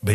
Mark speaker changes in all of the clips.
Speaker 1: Ben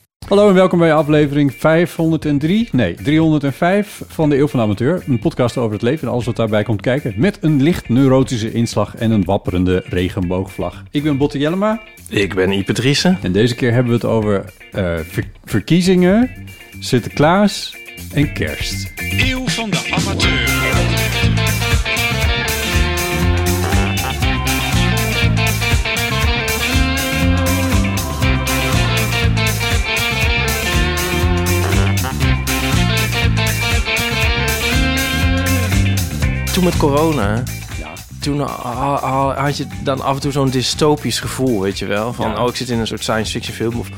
Speaker 2: Hallo en welkom bij aflevering 503, nee 305 van de Eeuw van de Amateur. Een podcast over het leven en alles wat daarbij komt kijken. Met een licht neurotische inslag en een wapperende regenboogvlag. Ik ben Botte Jellema
Speaker 3: Ik ben Ipe Driessen.
Speaker 2: en deze keer hebben we het over eh, ver- verkiezingen, Sinterklaas en kerst.
Speaker 4: Eeuw van de amateur.
Speaker 3: Toen met corona, toen ah, ah, had je dan af en toe zo'n dystopisch gevoel, weet je wel? Van,
Speaker 2: Ja.
Speaker 3: oh, ik zit in een soort science fiction film. Of,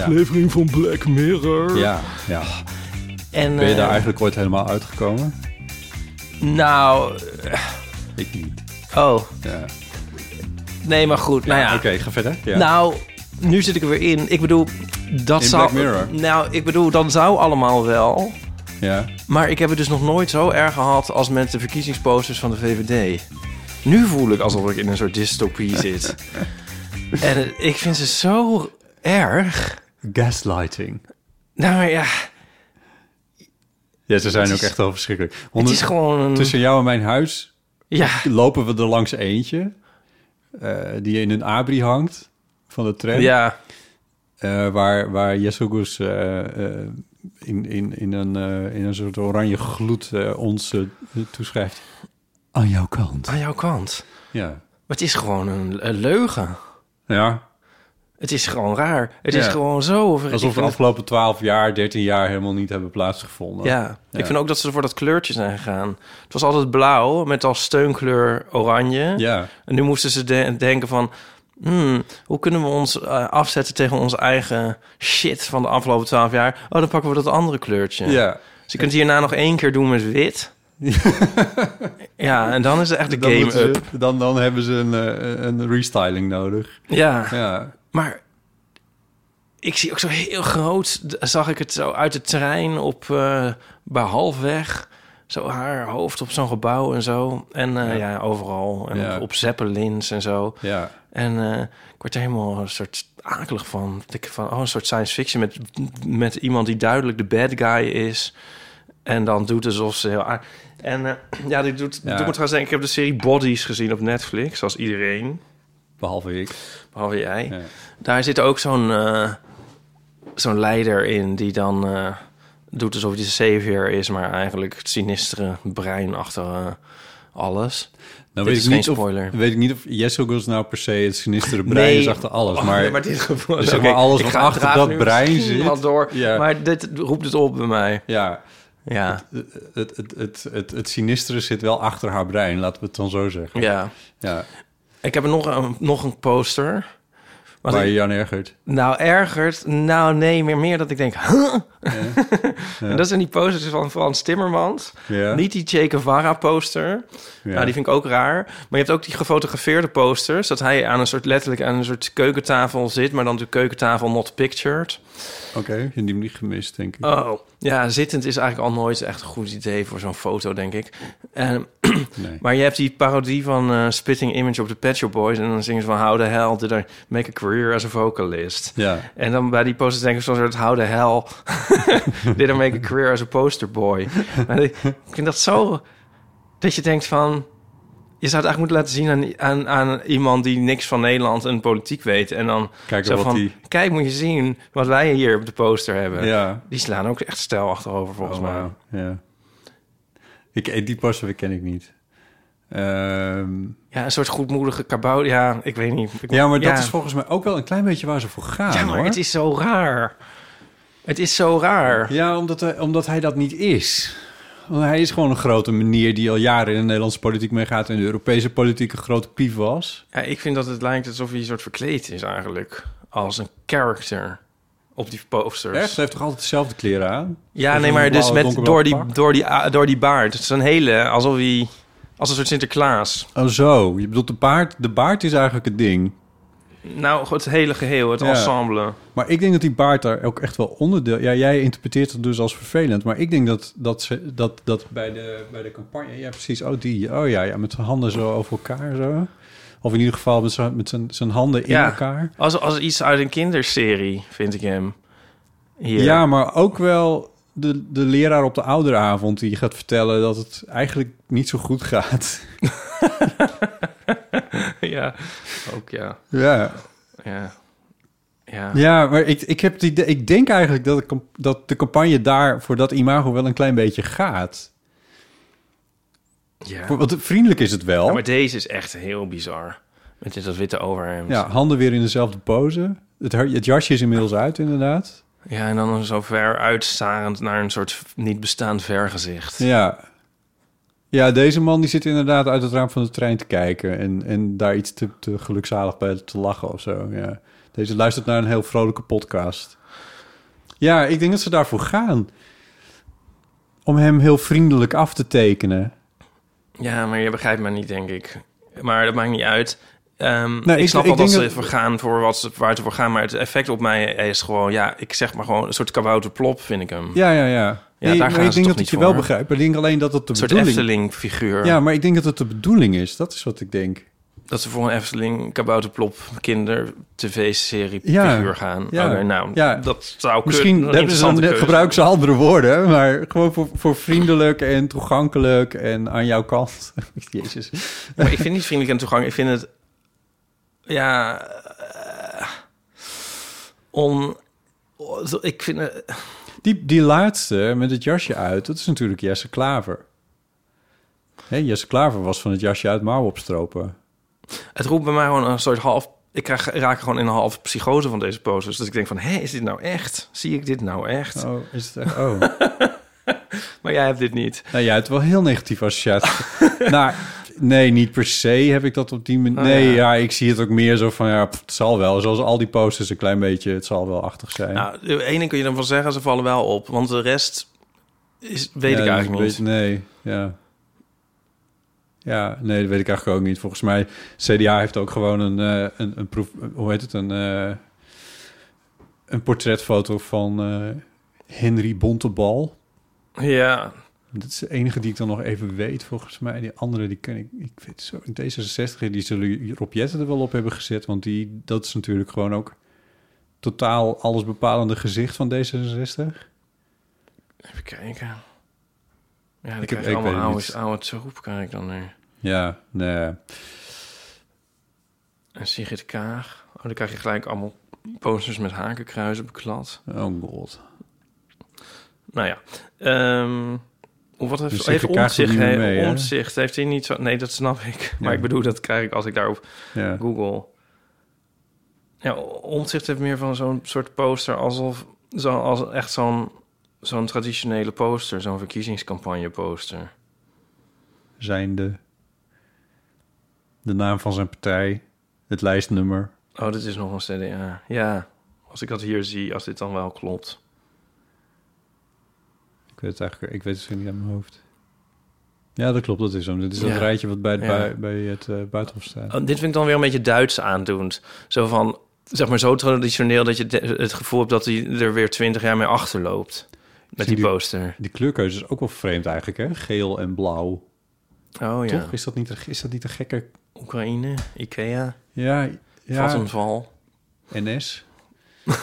Speaker 2: aflevering
Speaker 3: van Black Mirror.
Speaker 2: Ja, ja.
Speaker 3: En,
Speaker 2: Ben je
Speaker 3: eh,
Speaker 2: daar eigenlijk ooit helemaal uitgekomen?
Speaker 3: Nou,
Speaker 2: Ik niet.
Speaker 3: oh,
Speaker 2: Ja.
Speaker 3: nee, maar goed. nou ja,
Speaker 2: Oké, ga verder. Ja.
Speaker 3: nou, nu zit ik er weer in. Ik bedoel, dat
Speaker 2: In
Speaker 3: zou...
Speaker 2: Black Mirror.
Speaker 3: Nou, ik bedoel, dan zou allemaal wel.
Speaker 2: ja.
Speaker 3: Maar ik heb het dus nog nooit zo erg gehad als met de verkiezingsposters van de VVD. Nu voel ik alsof ik in een soort dystopie zit. en eh, ik vind ze zo erg.
Speaker 2: Gaslighting.
Speaker 3: Nou maar ja,
Speaker 2: Ja, ze zijn
Speaker 3: Het
Speaker 2: ook
Speaker 3: is-
Speaker 2: echt wel verschrikkelijk.
Speaker 3: het
Speaker 2: Onder-
Speaker 3: is gewoon een...
Speaker 2: Tussen jou en mijn huis
Speaker 3: Ja,
Speaker 2: lopen we er langs eentje. eh, die in een abri hangt van de tram.
Speaker 3: ja,
Speaker 2: Eh, waar, waar Jessegus eh, in, in, in, een, eh, in een soort oranje gloed eh, ons eh, toeschrijft. Aan jouw kant.
Speaker 3: aan jouw kant.
Speaker 2: Ja.
Speaker 3: Maar het is gewoon een, een leugen.
Speaker 2: Ja,
Speaker 3: Het is gewoon raar. Het is
Speaker 2: Ja.
Speaker 3: gewoon zo... ik
Speaker 2: alsof
Speaker 3: vind
Speaker 2: de
Speaker 3: het-
Speaker 2: afgelopen 12 jaar, 13 jaar helemaal niet hebben plaatsgevonden.
Speaker 3: Ja. ik vind ook dat ze voor dat kleurtje zijn gegaan. Het was altijd blauw met als steunkleur oranje.
Speaker 2: Ja,
Speaker 3: En nu moesten ze de- denken van... hmm, hoe kunnen we ons eh, afzetten tegen onze eigen shit van de afgelopen twaalf jaar? Oh, dan pakken we dat andere kleurtje.
Speaker 2: ja.
Speaker 3: Dus je kunt hierna nog één keer doen met wit. ja, en dan is het echt de
Speaker 2: Dan,
Speaker 3: game
Speaker 2: moeten
Speaker 3: up.
Speaker 2: ze- dan, dan hebben ze een, eh, een restyling nodig.
Speaker 3: Ja.
Speaker 2: Ja,
Speaker 3: maar ik zie ook zo heel groot... d- zag ik het zo uit de trein op eh bij halfweg... Zo haar hoofd op zo'n gebouw en zo. En eh, ja. overal. En
Speaker 2: Ja.
Speaker 3: op, op Zeppelins en zo.
Speaker 2: ja.
Speaker 3: En eh, ik word er helemaal een soort akelig van. Ik denk van, oh, een soort science fiction met, met iemand die duidelijk de bad guy is. En dan doet alsof ze heel... a- En eh, ja, dit doet,
Speaker 2: Ja.
Speaker 3: doet me trouwens denken... Ik heb de serie Bodies gezien op Netflix, zoals iedereen.
Speaker 2: Behalve ik. Nou
Speaker 3: Behalve jij.
Speaker 2: Ja.
Speaker 3: Daar zit ook zo'n eh, zo'n leider in die dan eh, doet alsof hij de savior is... maar eigenlijk het sinistere brein achter eh, alles.
Speaker 2: Nou,
Speaker 3: Dit
Speaker 2: weet
Speaker 3: is
Speaker 2: ik,
Speaker 3: geen
Speaker 2: niet of,
Speaker 3: spoiler.
Speaker 2: weet ik niet of Yes So Goes nou per se het sinistere brein is achter alles.
Speaker 3: Oh,
Speaker 2: maar,
Speaker 3: nee, dit gevoel.
Speaker 2: Dus zeg
Speaker 3: Oké,
Speaker 2: maar alles
Speaker 3: ik
Speaker 2: wat
Speaker 3: ga-
Speaker 2: achter
Speaker 3: draaf
Speaker 2: dat
Speaker 3: nu
Speaker 2: brein
Speaker 3: misschien
Speaker 2: zit.
Speaker 3: wel door.
Speaker 2: Ja.
Speaker 3: Maar dit roept het op bij mij.
Speaker 2: ja,
Speaker 3: Ja.
Speaker 2: het, het, het, het, het sinistere zit wel achter haar brein, laten we het dan zo zeggen.
Speaker 3: Ja.
Speaker 2: Ja,
Speaker 3: Ik heb er nog een, nog een poster. Wat
Speaker 2: waar
Speaker 3: ik-
Speaker 2: je je aan ergert.
Speaker 3: nou, ergert. Nou, nee, meer, meer dat ik denk. Huh? en dat zijn die posters van Frans Timmermans.
Speaker 2: Ja.
Speaker 3: Niet die Che Guevara poster.
Speaker 2: Ja.
Speaker 3: Nou, die vind ik ook raar. Maar je hebt ook die gefotografeerde posters. Dat hij aan een soort, letterlijk aan een soort keukentafel zit. Maar dan de keukentafel not pictured.
Speaker 2: Oké, je hebt die niet gemist, denk ik.
Speaker 3: Oh, ja, zittend is eigenlijk al nooit echt een goed idee voor zo'n foto, denk ik. En,
Speaker 2: Nee.
Speaker 3: maar je hebt die parodie van eh, Spitting Image op de Pet Shop Boys... en dan zingen ze van How the hell did I make a career as a vocalist?
Speaker 2: Ja,
Speaker 3: En dan bij die posters denk ik zo'n soort How the hell did I make a career as a poster boy? Maar ik vind dat zo... dat je denkt van... je zou het eigenlijk moeten laten zien aan, aan, aan iemand... die niks van Nederland en politiek weet. En dan
Speaker 2: Kijken
Speaker 3: zo
Speaker 2: wat
Speaker 3: van...
Speaker 2: die-
Speaker 3: kijk, moet je zien wat wij hier op de poster hebben.
Speaker 2: ja.
Speaker 3: Die slaan ook echt stijl achterover volgens
Speaker 2: Oh,
Speaker 3: mij.
Speaker 2: wauw. Ja. Ik, eh, die Passover ken ik niet. Ehm,
Speaker 3: Ja, een soort goedmoedige kabouter. Ja, ik weet niet. Ik-
Speaker 2: ja, maar dat is volgens mij ook wel een klein beetje waar ze voor gaan,
Speaker 3: Ja, maar
Speaker 2: hoor.
Speaker 3: het is zo raar. Het is zo raar.
Speaker 2: Ja, omdat, hij- omdat hij dat niet is. Want hij is gewoon een grote meneer die al jaren in de Nederlandse politiek meegaat... en de Europese politiek een grote pief was.
Speaker 3: Ja, ik vind dat het lijkt alsof hij een soort verkleed is eigenlijk. Als een character op die posters.
Speaker 2: Echt? Ze heeft toch altijd dezelfde kleren aan?
Speaker 3: Ja,
Speaker 2: Of
Speaker 3: nee,
Speaker 2: een
Speaker 3: maar dus
Speaker 2: blauwe,
Speaker 3: met,
Speaker 2: donkerblauwe
Speaker 3: door, die,
Speaker 2: pak?
Speaker 3: door, die, a- door die baard. Het is een hele, alsof hij... Als een soort Sinterklaas.
Speaker 2: Oh zo, je bedoelt de baard, de baard is eigenlijk het ding.
Speaker 3: Nou, het hele geheel, het
Speaker 2: Ja.
Speaker 3: ensemble.
Speaker 2: Maar ik denk dat die baard daar ook echt wel onderdeel... Ja, jij interpreteert het dus als vervelend. Maar ik denk dat, dat, ze, dat, dat bij, de, bij de campagne... Ja, precies. Oh, die. Oh ja, ja met zijn handen zo over elkaar zo. Of in ieder geval met zijn, met zijn, zijn handen in
Speaker 3: Ja.
Speaker 2: elkaar.
Speaker 3: Als, als iets uit een kinderserie, vind ik hem. Hier.
Speaker 2: Ja, maar ook wel de, de leraar op de ouderavond... die gaat vertellen dat het eigenlijk niet zo goed gaat.
Speaker 3: ja, ook ja.
Speaker 2: ja.
Speaker 3: Ja. Ja.
Speaker 2: Ja, maar ik, ik, heb het idee, ik denk eigenlijk dat, de camp- dat de campagne daar voor dat imago wel een klein beetje gaat.
Speaker 3: Ja.
Speaker 2: Voor- Want vriendelijk is het wel.
Speaker 3: Ja,
Speaker 2: Ja,
Speaker 3: maar deze is echt heel bizar. Met dit, dat witte overhemd.
Speaker 2: handen weer in dezelfde pose. Het, har- het jasje is inmiddels uit, inderdaad.
Speaker 3: Ja, en dan zo ver uitstarend naar een soort niet bestaand vergezicht.
Speaker 2: Ja. Ja, deze man die zit inderdaad uit het raam van de trein te kijken. En, en daar iets te, te gelukzalig bij te lachen of zo. Ja. Deze luistert naar een heel vrolijke podcast. Ja, ik denk dat ze daarvoor gaan. Om hem heel vriendelijk af te tekenen.
Speaker 3: Ja, maar je begrijpt me niet, denk ik. Maar dat maakt niet uit. Ehm,
Speaker 2: Nee,
Speaker 3: ik,
Speaker 2: ik-
Speaker 3: snap
Speaker 2: ik
Speaker 3: wel dat
Speaker 2: denk
Speaker 3: ze
Speaker 2: dat-
Speaker 3: voor gaan voor wat ze, waar ze voor gaan. Maar het effect op mij is gewoon, ja, ik zeg maar gewoon een soort kabouterplop, vind ik hem.
Speaker 2: Ja, ja, ja.
Speaker 3: Ja,
Speaker 2: Nee,
Speaker 3: daar
Speaker 2: maar
Speaker 3: gaan ze
Speaker 2: ik denk
Speaker 3: toch
Speaker 2: dat ik
Speaker 3: niet
Speaker 2: je
Speaker 3: voor.
Speaker 2: wel begrijpt. Maar ik denk alleen dat het de
Speaker 3: een soort
Speaker 2: bedoeling
Speaker 3: Efteling-figuur.
Speaker 2: Ja, maar ik denk dat het de bedoeling is. Dat is wat ik denk.
Speaker 3: Dat ze voor een Efteling kabouterplop kinder-tv-serie
Speaker 2: Ja,
Speaker 3: figuur gaan.
Speaker 2: ja,
Speaker 3: Oké, nou,
Speaker 2: ja.
Speaker 3: dat zou kunnen.
Speaker 2: Misschien hebben
Speaker 3: een
Speaker 2: ze dan
Speaker 3: interessante
Speaker 2: net,
Speaker 3: keuze.
Speaker 2: gebruiken ze andere woorden, maar gewoon voor, voor vriendelijk en toegankelijk en aan jouw kant. Jezus.
Speaker 3: Maar ik vind het niet vriendelijk en toegang. Ik vind het... Ja... eh, on... Ik vind het...
Speaker 2: Die, die laatste met het jasje uit, dat is natuurlijk Jesse Klaver. Hè, Jesse Klaver was van het jasje uit mouw opstropen.
Speaker 3: Het roept bij mij gewoon een soort half... Ik krijg, raak gewoon in een half psychose van deze poses. Dat ik denk van, hé, is dit nou echt? Zie ik dit nou echt?
Speaker 2: Oh, is het echt? Oh.
Speaker 3: Maar jij hebt dit niet.
Speaker 2: Nou ja, het wel heel negatief associatie. nou, nee, niet per se heb ik dat op die manier.
Speaker 3: Oh,
Speaker 2: nee,
Speaker 3: ja.
Speaker 2: ja. ik zie het ook meer zo van, ja, pff, het zal wel. Zoals al die posters een klein beetje, het zal wel achtig zijn.
Speaker 3: Nou, de ene kun je dan van zeggen, ze vallen wel op. Want de rest is, weet
Speaker 2: Ja,
Speaker 3: ik
Speaker 2: dat
Speaker 3: eigenlijk
Speaker 2: weet-
Speaker 3: niet.
Speaker 2: Nee, ja. Ja, nee, dat weet ik eigenlijk ook niet. Volgens mij, CDA heeft ook gewoon een, eh, een, een proef... Hoe heet het? Een, eh, een portretfoto van eh, Henry Bontebal.
Speaker 3: Ja,
Speaker 2: Dat is de enige die ik dan nog even weet, volgens mij. Die andere, die ken ik... Ik weet zo... D66, die zullen Rob Jetten er wel op hebben gezet. Want die, dat is natuurlijk gewoon ook... totaal alles bepalende gezicht van D66.
Speaker 3: even kijken. Ja, dan
Speaker 2: Ik heb-
Speaker 3: ik krijg
Speaker 2: ik
Speaker 3: je allemaal
Speaker 2: weet het
Speaker 3: oude,
Speaker 2: niet.
Speaker 3: oude troep krijg ik dan nu.
Speaker 2: Ja, nee.
Speaker 3: En Sigrid Kaag. Oh, dan krijg je gelijk allemaal posters met hakenkruizen beklad.
Speaker 2: Oh god.
Speaker 3: Nou ja. ehm, hoe wat heeft,
Speaker 2: Dus
Speaker 3: heeft
Speaker 2: Sigrid Kaag
Speaker 3: omzicht,
Speaker 2: doet niet meer mee, hè?
Speaker 3: omzicht? Heeft hij niet zo? Nee, dat snap ik. Maar
Speaker 2: Ja.
Speaker 3: ik bedoel, dat krijg ik als ik daarop
Speaker 2: Ja.
Speaker 3: Google. Ja, omzicht heeft meer van zo'n soort poster alsof zo, als echt zo'n zo'n traditionele poster, zo'n verkiezingscampagne poster.
Speaker 2: zijn de, de naam van zijn partij, het lijstnummer.
Speaker 3: Oh, dit is nog een CDA. Ja, als ik dat hier zie, als dit dan wel klopt.
Speaker 2: Ik weet het eigenlijk, ik weet het niet uit mijn hoofd. Ja, dat klopt, dat is hem. Dit is dat
Speaker 3: Ja.
Speaker 2: rijtje wat bij het,
Speaker 3: Ja.
Speaker 2: bij, bij het eh, buitenhof staat.
Speaker 3: Oh, dit vind ik dan weer een beetje Duits aandoend. Zo van, zeg maar zo traditioneel dat je de- het gevoel hebt dat hij er weer twintig jaar mee achterloopt. Met
Speaker 2: zie
Speaker 3: die
Speaker 2: die-
Speaker 3: poster.
Speaker 2: Die kleurkeuze is ook wel vreemd eigenlijk, hè? Geel en blauw.
Speaker 3: Oh ja.
Speaker 2: Toch? Is dat niet, een- is dat niet een gekke...
Speaker 3: Oekraïne, Ikea,
Speaker 2: Ja, ja.
Speaker 3: vattenval.
Speaker 2: NS.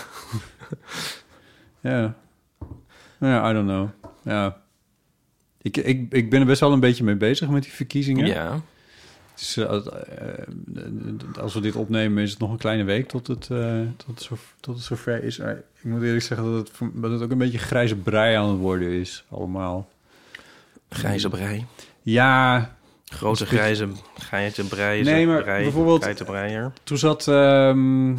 Speaker 2: ja. Nou ja, I don't know. Ja. Ik, ik, ik ben er best wel een beetje mee bezig met die verkiezingen.
Speaker 3: Ja.
Speaker 2: Het is, eh, eh, als we dit opnemen is het nog een kleine week tot het, eh, tot het, zo, tot het zover is. Maar ik moet eerlijk zeggen dat het, voor- dat het ook een beetje grijze brei aan het worden is allemaal.
Speaker 3: Grijze brei.
Speaker 2: Ja,
Speaker 3: Grote grijze geitenbreier.
Speaker 2: Nee, maar
Speaker 3: brei,
Speaker 2: bijvoorbeeld-
Speaker 3: Geitenbreier.
Speaker 2: toen zat ehm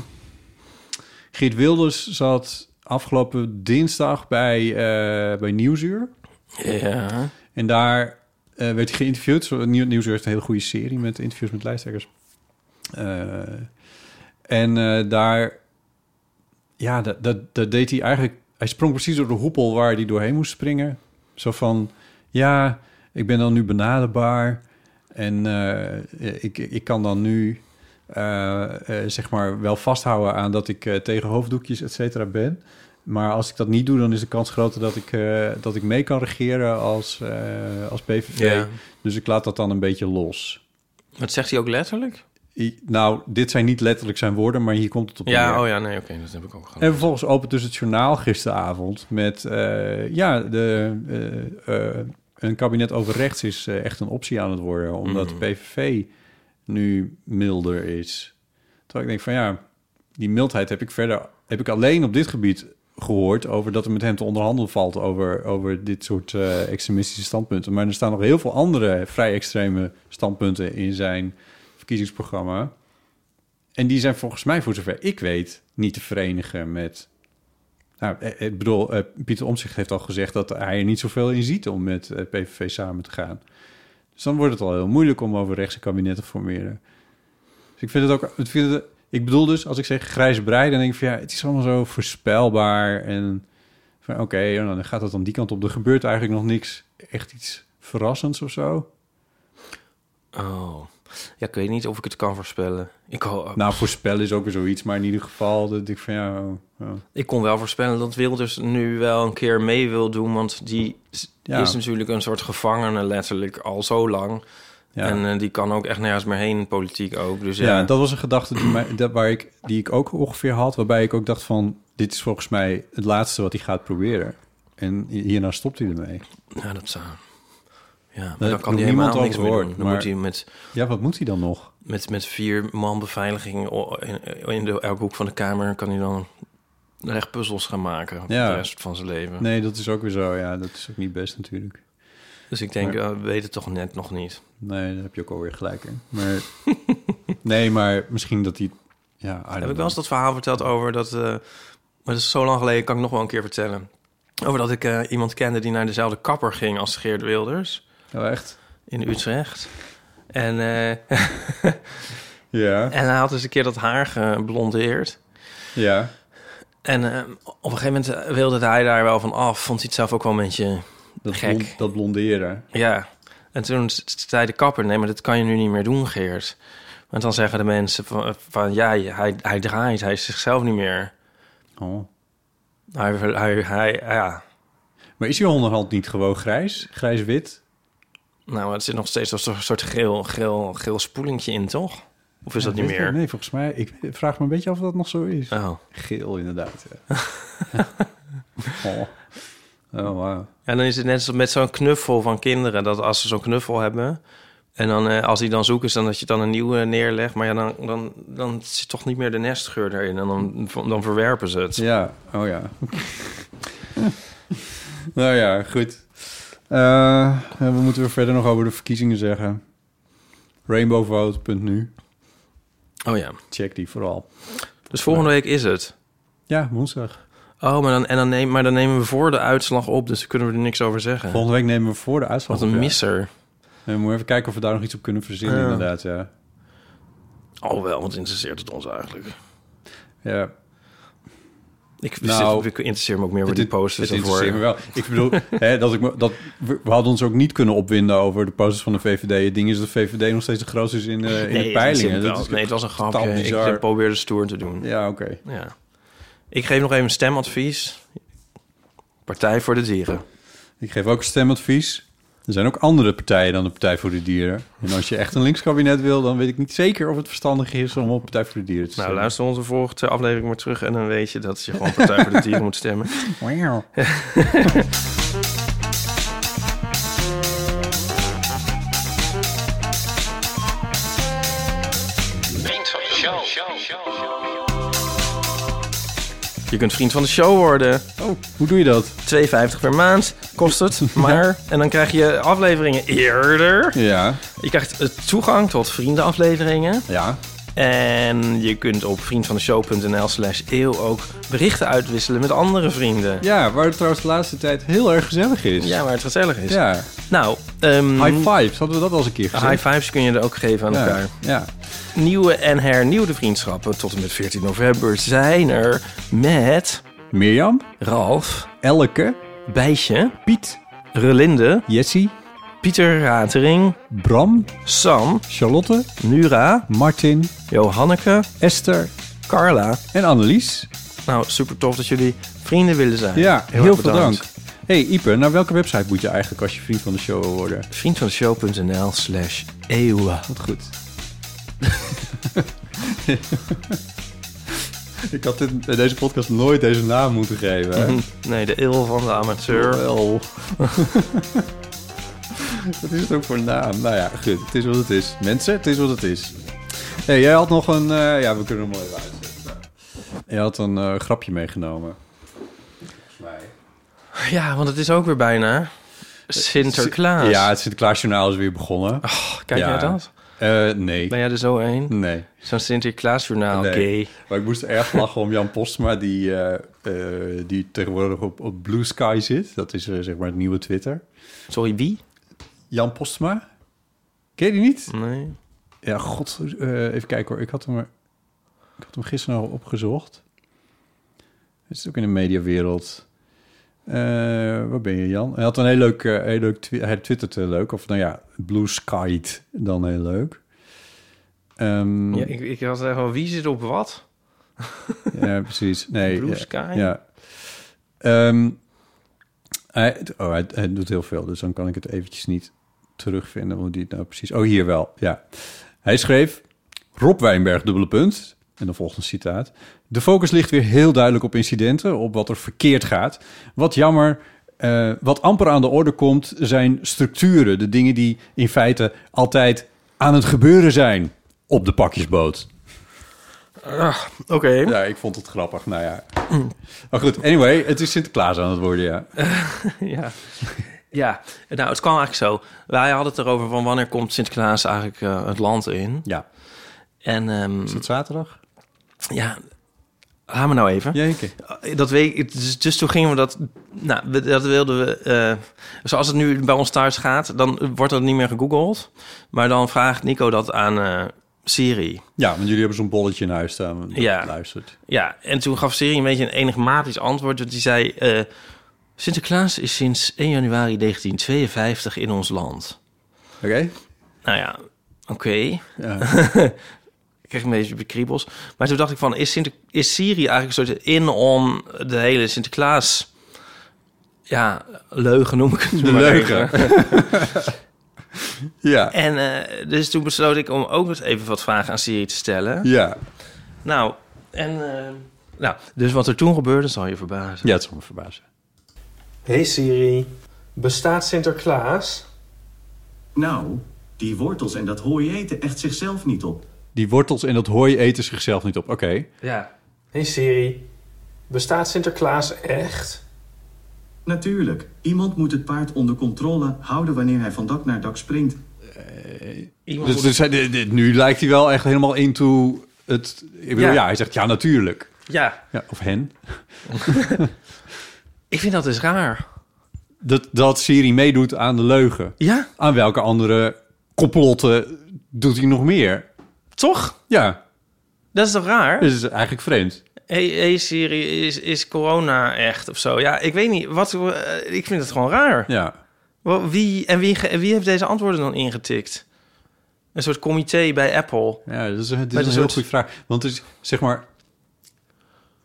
Speaker 2: Geert Wilders zat afgelopen dinsdag bij, eh, bij Nieuwsuur.
Speaker 3: Ja.
Speaker 2: En daar eh, werd hij geïnterviewd. Zo, Nieuw, Nieuwsuur heeft een hele goede serie met interviews met lijsttrekkers. Eh, en eh, daar, ja, dat, dat, dat deed hij eigenlijk. Hij sprong precies door de hoepel waar hij doorheen moest springen. Zo van, ja, ik ben dan nu benaderbaar. En eh, ik, ik kan dan nu, eh, eh, zeg maar, wel vasthouden aan dat ik eh, tegen hoofddoekjes, et cetera, ben. Maar als ik dat niet doe, dan is de kans groter dat ik, eh, dat ik mee kan regeren als, eh, als PVV.
Speaker 3: Ja.
Speaker 2: Dus ik laat dat dan een beetje los.
Speaker 3: Wat zegt hij ook letterlijk?
Speaker 2: I- nou, dit zijn niet letterlijk zijn woorden, maar hier komt het op neer.
Speaker 3: Ja, oh ja, nee, oké, dat heb ik ook gehad.
Speaker 2: En vervolgens opent dus het journaal gisteravond met... eh, ja, de, eh, eh, een kabinet over rechts is eh, echt een optie aan het worden... omdat
Speaker 3: Mm.
Speaker 2: de PVV nu milder is. Terwijl ik denk van ja, die mildheid heb ik verder... heb ik alleen op dit gebied gehoord... over dat er met hem te onderhandelen valt... over, over dit soort eh, extremistische standpunten. Maar er staan nog heel veel andere vrij extreme standpunten... in zijn verkiezingsprogramma... En die zijn volgens mij, voor zover ik weet, niet te verenigen met. Nou, eh, eh, ik bedoel, eh, Pieter Omzicht heeft al gezegd dat hij er niet zoveel in ziet om met eh, PVV samen te gaan. Dus dan wordt het al heel moeilijk om over rechtse kabinetten te formeren. Dus ik vind het ook. Ik, vind het, ik bedoel dus, als ik zeg grijze brei, dan denk ik van ja, het is allemaal zo voorspelbaar. En van oké, en dan gaat het dan die kant op. Er gebeurt eigenlijk nog niks echt iets verrassends of zo.
Speaker 3: Oh. Ja, ik weet niet of ik het kan voorspellen. Ik, ho-
Speaker 2: Nou, voorspellen is ook weer zoiets, maar in ieder geval, dat ik van ja. oh, oh.
Speaker 3: ik kon wel voorspellen dat Wilders nu wel een keer mee wil doen. Want die s-
Speaker 2: Ja.
Speaker 3: is natuurlijk een soort gevangene letterlijk al zo lang.
Speaker 2: Ja.
Speaker 3: En eh, die kan ook echt nergens meer heen, politiek ook. Dus ja,
Speaker 2: Ja, dat was een gedachte die, mij, dat waar ik, die ik ook ongeveer had. Waarbij ik ook dacht van... dit is volgens mij het laatste wat hij gaat proberen. En hi- hierna stopt hij ermee.
Speaker 3: ja, dat zou... Ja, maar
Speaker 2: Daar
Speaker 3: dan
Speaker 2: heeft
Speaker 3: kan
Speaker 2: nog
Speaker 3: hij
Speaker 2: niemand
Speaker 3: helemaal niks
Speaker 2: over
Speaker 3: meer doen.
Speaker 2: gehoord,
Speaker 3: Dan
Speaker 2: maar-
Speaker 3: moet hij met,
Speaker 2: Ja, wat moet hij dan nog?
Speaker 3: met, met vier man beveiliging o- in, in de, elke hoek van de kamer... kan hij dan echt puzzels gaan maken voor
Speaker 2: Ja.
Speaker 3: de rest van zijn leven.
Speaker 2: Nee, dat is ook weer zo. Ja, dat is ook niet best natuurlijk.
Speaker 3: Dus ik denk, eh, we weten het toch net nog niet.
Speaker 2: Nee, daar heb je ook alweer gelijk in. Maar, nee, maar misschien dat hij... Ja, I don't
Speaker 3: Heb ik
Speaker 2: know.
Speaker 3: wel eens dat verhaal verteld over dat... eh, maar dat is zo lang geleden, kan ik nog wel een keer vertellen. Over dat ik eh, iemand kende die naar dezelfde kapper ging als Geert Wilders
Speaker 2: Oh, echt?
Speaker 3: in Utrecht. En, eh,
Speaker 2: Ja,
Speaker 3: en hij had dus een keer dat haar geblondeerd.
Speaker 2: ja.
Speaker 3: En eh, op een gegeven moment eh, wilde hij daar wel van af. Vond hij het zelf ook wel een beetje
Speaker 2: Dat,
Speaker 3: Gek.
Speaker 2: blond- dat blonderen.
Speaker 3: Ja, en toen s- s- zei de kapper... nee, maar dat kan je nu niet meer doen, Geert. Want dan zeggen de mensen van... eh, van ja, hij, hij draait, hij is zichzelf niet meer.
Speaker 2: Oh.
Speaker 3: Hij, hij, hij, ja.
Speaker 2: Maar is hij onderhand niet gewoon grijs? Grijs-wit?
Speaker 3: Nou, het zit nog steeds als een soort geel, geel, geel spoelingje in, toch? Of is dat
Speaker 2: Ja,
Speaker 3: niet
Speaker 2: weet ik-
Speaker 3: meer?
Speaker 2: Nee, volgens mij... Ik vraag me een beetje af of dat nog zo is.
Speaker 3: Oh.
Speaker 2: Geel, inderdaad. Ja. oh, oh wauw.
Speaker 3: En dan is het net zo met zo'n knuffel van kinderen. Dat als ze zo'n knuffel hebben... en dan, eh, als die dan zoek is, dan dat je dan een nieuwe neerlegt. Maar ja, dan, dan, dan zit toch niet meer de nestgeur erin. En dan, dan verwerpen ze het.
Speaker 2: Ja, oh ja. nou ja, goed. Eh, we moeten weer verder nog over de verkiezingen zeggen. Rainbowvote.nu.
Speaker 3: Oh ja.
Speaker 2: Check die vooral.
Speaker 3: Dus volgende week is het.
Speaker 2: Ja, woensdag.
Speaker 3: Oh, maar dan, en dan neem, maar dan nemen we voor de uitslag op, dus daar kunnen we er niks over zeggen.
Speaker 2: Volgende week nemen we voor de uitslag.
Speaker 3: Wat een
Speaker 2: op, ja.
Speaker 3: misser.
Speaker 2: En we moeten even kijken of we daar nog iets op kunnen verzinnen,
Speaker 3: Ja.
Speaker 2: inderdaad. Ja.
Speaker 3: Oh wel, wat interesseert het ons eigenlijk?
Speaker 2: ja.
Speaker 3: Ik,
Speaker 2: Nou,
Speaker 3: ik interesseer me ook meer voor
Speaker 2: Het
Speaker 3: die
Speaker 2: in-
Speaker 3: posters
Speaker 2: het
Speaker 3: en voor...
Speaker 2: interesseert me wel. Ik bedoel, hè, dat ik me, dat, we, we hadden ons ook niet kunnen opwinden over de posters van de VVD. Het ding is dat de VVD nog steeds de grootste is in, eh, in
Speaker 3: Nee,
Speaker 2: de
Speaker 3: het
Speaker 2: peilingen.
Speaker 3: interesseert me
Speaker 2: Dat
Speaker 3: wel.
Speaker 2: is
Speaker 3: nee, het was een
Speaker 2: totaal
Speaker 3: grapje.
Speaker 2: bizar.
Speaker 3: Ik eh, probeerde stoer te doen. Ja.
Speaker 2: Ja, oké.
Speaker 3: Ik geef nog even een stemadvies. Partij voor de Dieren.
Speaker 2: Ik geef ook stemadvies. Er zijn ook andere partijen dan de Partij voor de Dieren. En als je echt een linkskabinet wil, dan weet ik niet zeker of het verstandig is om op Partij voor de Dieren te
Speaker 3: Nou,
Speaker 2: stemmen.
Speaker 3: luister onze vorige aflevering maar terug... en dan weet je dat je gewoon Partij voor de Dieren moet stemmen.
Speaker 2: Wauw.
Speaker 3: Je kunt vriend van de show worden.
Speaker 2: Oh, hoe doe je dat?
Speaker 3: 2,50 per maand kost het. Maar. En dan krijg je afleveringen eerder.
Speaker 2: Ja,
Speaker 3: Je krijgt eh, toegang tot vriendenafleveringen.
Speaker 2: ja.
Speaker 3: En je kunt op vriendvandeshow.nl slash eeuw ook berichten uitwisselen met andere vrienden.
Speaker 2: Ja, waar het trouwens de laatste tijd heel erg gezellig is.
Speaker 3: Ja, waar het gezellig is.
Speaker 2: Ja.
Speaker 3: Nou, ehm,
Speaker 2: High fives, hadden we dat al eens een keer gezien?
Speaker 3: high fives kun je er ook geven aan
Speaker 2: ja.
Speaker 3: elkaar.
Speaker 2: ja.
Speaker 3: Nieuwe en hernieuwde vriendschappen tot en met 14 november zijn er met
Speaker 2: Mirjam,
Speaker 3: Ralf,
Speaker 2: Elke,
Speaker 3: Bijsje,
Speaker 2: Piet,
Speaker 3: Relinde,
Speaker 2: Jessie,
Speaker 3: Pieter Ratering,
Speaker 2: Bram,
Speaker 3: Sam,
Speaker 2: Charlotte,
Speaker 3: Nura,
Speaker 2: Martin,
Speaker 3: Johanneke,
Speaker 2: Esther
Speaker 3: Carla.
Speaker 2: en Annelies.
Speaker 3: Nou, super tof dat jullie vrienden willen zijn.
Speaker 2: Ja, heel,
Speaker 3: erg
Speaker 2: veel
Speaker 3: bedankt.
Speaker 2: dank. hey, Ipe, naar welke website moet je eigenlijk als je vriend van de show wil worden?
Speaker 3: Vriendvandeshow.nl slash eeuw.
Speaker 2: Wat goed. Ik had dit, deze podcast nooit deze naam moeten geven. hè?
Speaker 3: Nee, de eeuw van de amateur.
Speaker 2: Wel. wat is het ook voor naam? Nou ja, goed. Het is wat het is. Mensen, het is wat het is. Hey, jij had nog een... eh, ja, we kunnen hem mooi even uitzetten. Jij had een eh, grapje meegenomen.
Speaker 3: Ja, want het is ook weer bijna Sinterklaas.
Speaker 2: Eh, Ja, het Sinterklaasjournaal is weer begonnen.
Speaker 3: Kijk
Speaker 2: Ja.
Speaker 3: jij dat?
Speaker 2: Eh, nee.
Speaker 3: Ben jij er zo een?
Speaker 2: Nee.
Speaker 3: Zo'n Sinterklaasjournaal,
Speaker 2: Nee.
Speaker 3: gay.
Speaker 2: Maar ik moest erg lachen om Jan Postma, die, eh, eh, die tegenwoordig op, op Blue Sky zit. Dat is eh, zeg maar het nieuwe Twitter.
Speaker 3: Sorry, wie?
Speaker 2: Jan Postma? Ken je die niet?
Speaker 3: Nee.
Speaker 2: Ja, god. eh, even kijken hoor. Ik had hem, er- ik had hem gisteren al opgezocht. Het is ook in de mediawereld. Eh, waar ben je, Jan? Hij had een heel leuk... eh, heel leuk twi- hij twittert heel leuk. Of nou ja, Blue Skyed dan heel leuk. Ehm,
Speaker 3: Ja, ik, ik had echt wel, wie zit op wat?
Speaker 2: Ja, precies. Nee,
Speaker 3: Blue
Speaker 2: ja,
Speaker 3: Sky?
Speaker 2: Ja. Ehm, hij, oh, hij, hij doet heel veel, dus dan kan ik het eventjes niet terugvinden. Hoe die het nou precies... Oh, hier wel, ja. Hij schreef... Rob Wijnberg, dubbele punt. En dan volgt een citaat. De focus ligt weer heel duidelijk op incidenten, op wat er verkeerd gaat. Wat jammer, eh, wat amper aan de orde komt, zijn structuren. De dingen die in feite altijd aan het gebeuren zijn op de pakjesboot.
Speaker 3: Ah, Oké.
Speaker 2: Ja, ik vond het grappig. Nou ja. Maar goed, anyway, het is Sinterklaas aan het worden, ja.
Speaker 3: Ja. ja, nou, het kwam eigenlijk zo. Wij hadden het erover van wanneer komt Sinterklaas eigenlijk eh, het land in.
Speaker 2: Ja.
Speaker 3: En ehm,
Speaker 2: Is het zaterdag?
Speaker 3: ja, laat me nou even.
Speaker 2: Jeetje.
Speaker 3: Dat weet ik, dus, dus toen gingen we dat... Nou, we- dat wilden we... eh, zoals het nu bij ons thuis gaat, dan wordt dat niet meer gegoogeld. Maar dan vraagt Nico dat aan eh, Siri.
Speaker 2: Ja, want jullie hebben zo'n bolletje in huis staan. dat
Speaker 3: Ja.
Speaker 2: Luistert.
Speaker 3: Ja, en toen gaf Siri een beetje een enigmatisch antwoord. Want die zei... eh, Sinterklaas is sinds 1 januari 1952 in ons land.
Speaker 2: Oké. Eh,
Speaker 3: Nou ja, oké.
Speaker 2: Ja.
Speaker 3: Ik kreeg een beetje kriebels. Maar toen dacht ik van, is, Sinter is Siri eigenlijk een soort in om de hele Sinterklaas... Ja, leugen noem ik het
Speaker 2: De
Speaker 3: maar
Speaker 2: leugen.
Speaker 3: even.
Speaker 2: ja.
Speaker 3: En eh, dus toen besloot ik om ook eens even wat vragen aan Siri te stellen.
Speaker 2: Ja.
Speaker 3: Nou, en... eh, nou, dus wat er toen gebeurde zal je verbazen.
Speaker 2: Ja, het zal me verbazen.
Speaker 5: Hey Siri, bestaat Sinterklaas?
Speaker 6: Nou, die wortels en dat hooi eten echt zichzelf niet op.
Speaker 2: Die wortels en dat hooi eten zichzelf niet op. Oké.
Speaker 3: Ja.
Speaker 5: Hey Siri, bestaat Sinterklaas echt?
Speaker 6: Natuurlijk, iemand moet het paard onder controle houden wanneer hij van dak naar dak springt.
Speaker 3: Iemand
Speaker 2: Dus,
Speaker 3: moet-
Speaker 2: dus hij- dit- dit- nu lijkt hij wel echt helemaal into het... Ik bedoel, ja,
Speaker 3: Ja.
Speaker 2: hij zegt ja, natuurlijk.
Speaker 3: Ja,
Speaker 2: Ja, of hen.
Speaker 3: ik vind dat dus raar.
Speaker 2: Dat, dat Siri meedoet aan de leugen.
Speaker 3: Ja,
Speaker 2: Aan welke andere complotten doet hij nog meer?
Speaker 3: toch?
Speaker 2: Ja,
Speaker 3: Dat is toch raar?
Speaker 2: dus het is eigenlijk vreemd.
Speaker 3: Hey, hey Siri, is, is corona echt of zo? Ja, ik weet niet. Wat, eh, ik vind het gewoon raar.
Speaker 2: Ja.
Speaker 3: Wa- Wie, en wie, ge- en wie heeft deze antwoorden dan ingetikt? Een soort comité bij Apple.
Speaker 2: Ja, dat is, dat is een
Speaker 3: dat
Speaker 2: heel
Speaker 3: soort-
Speaker 2: goede vraag. Want het is, zeg maar...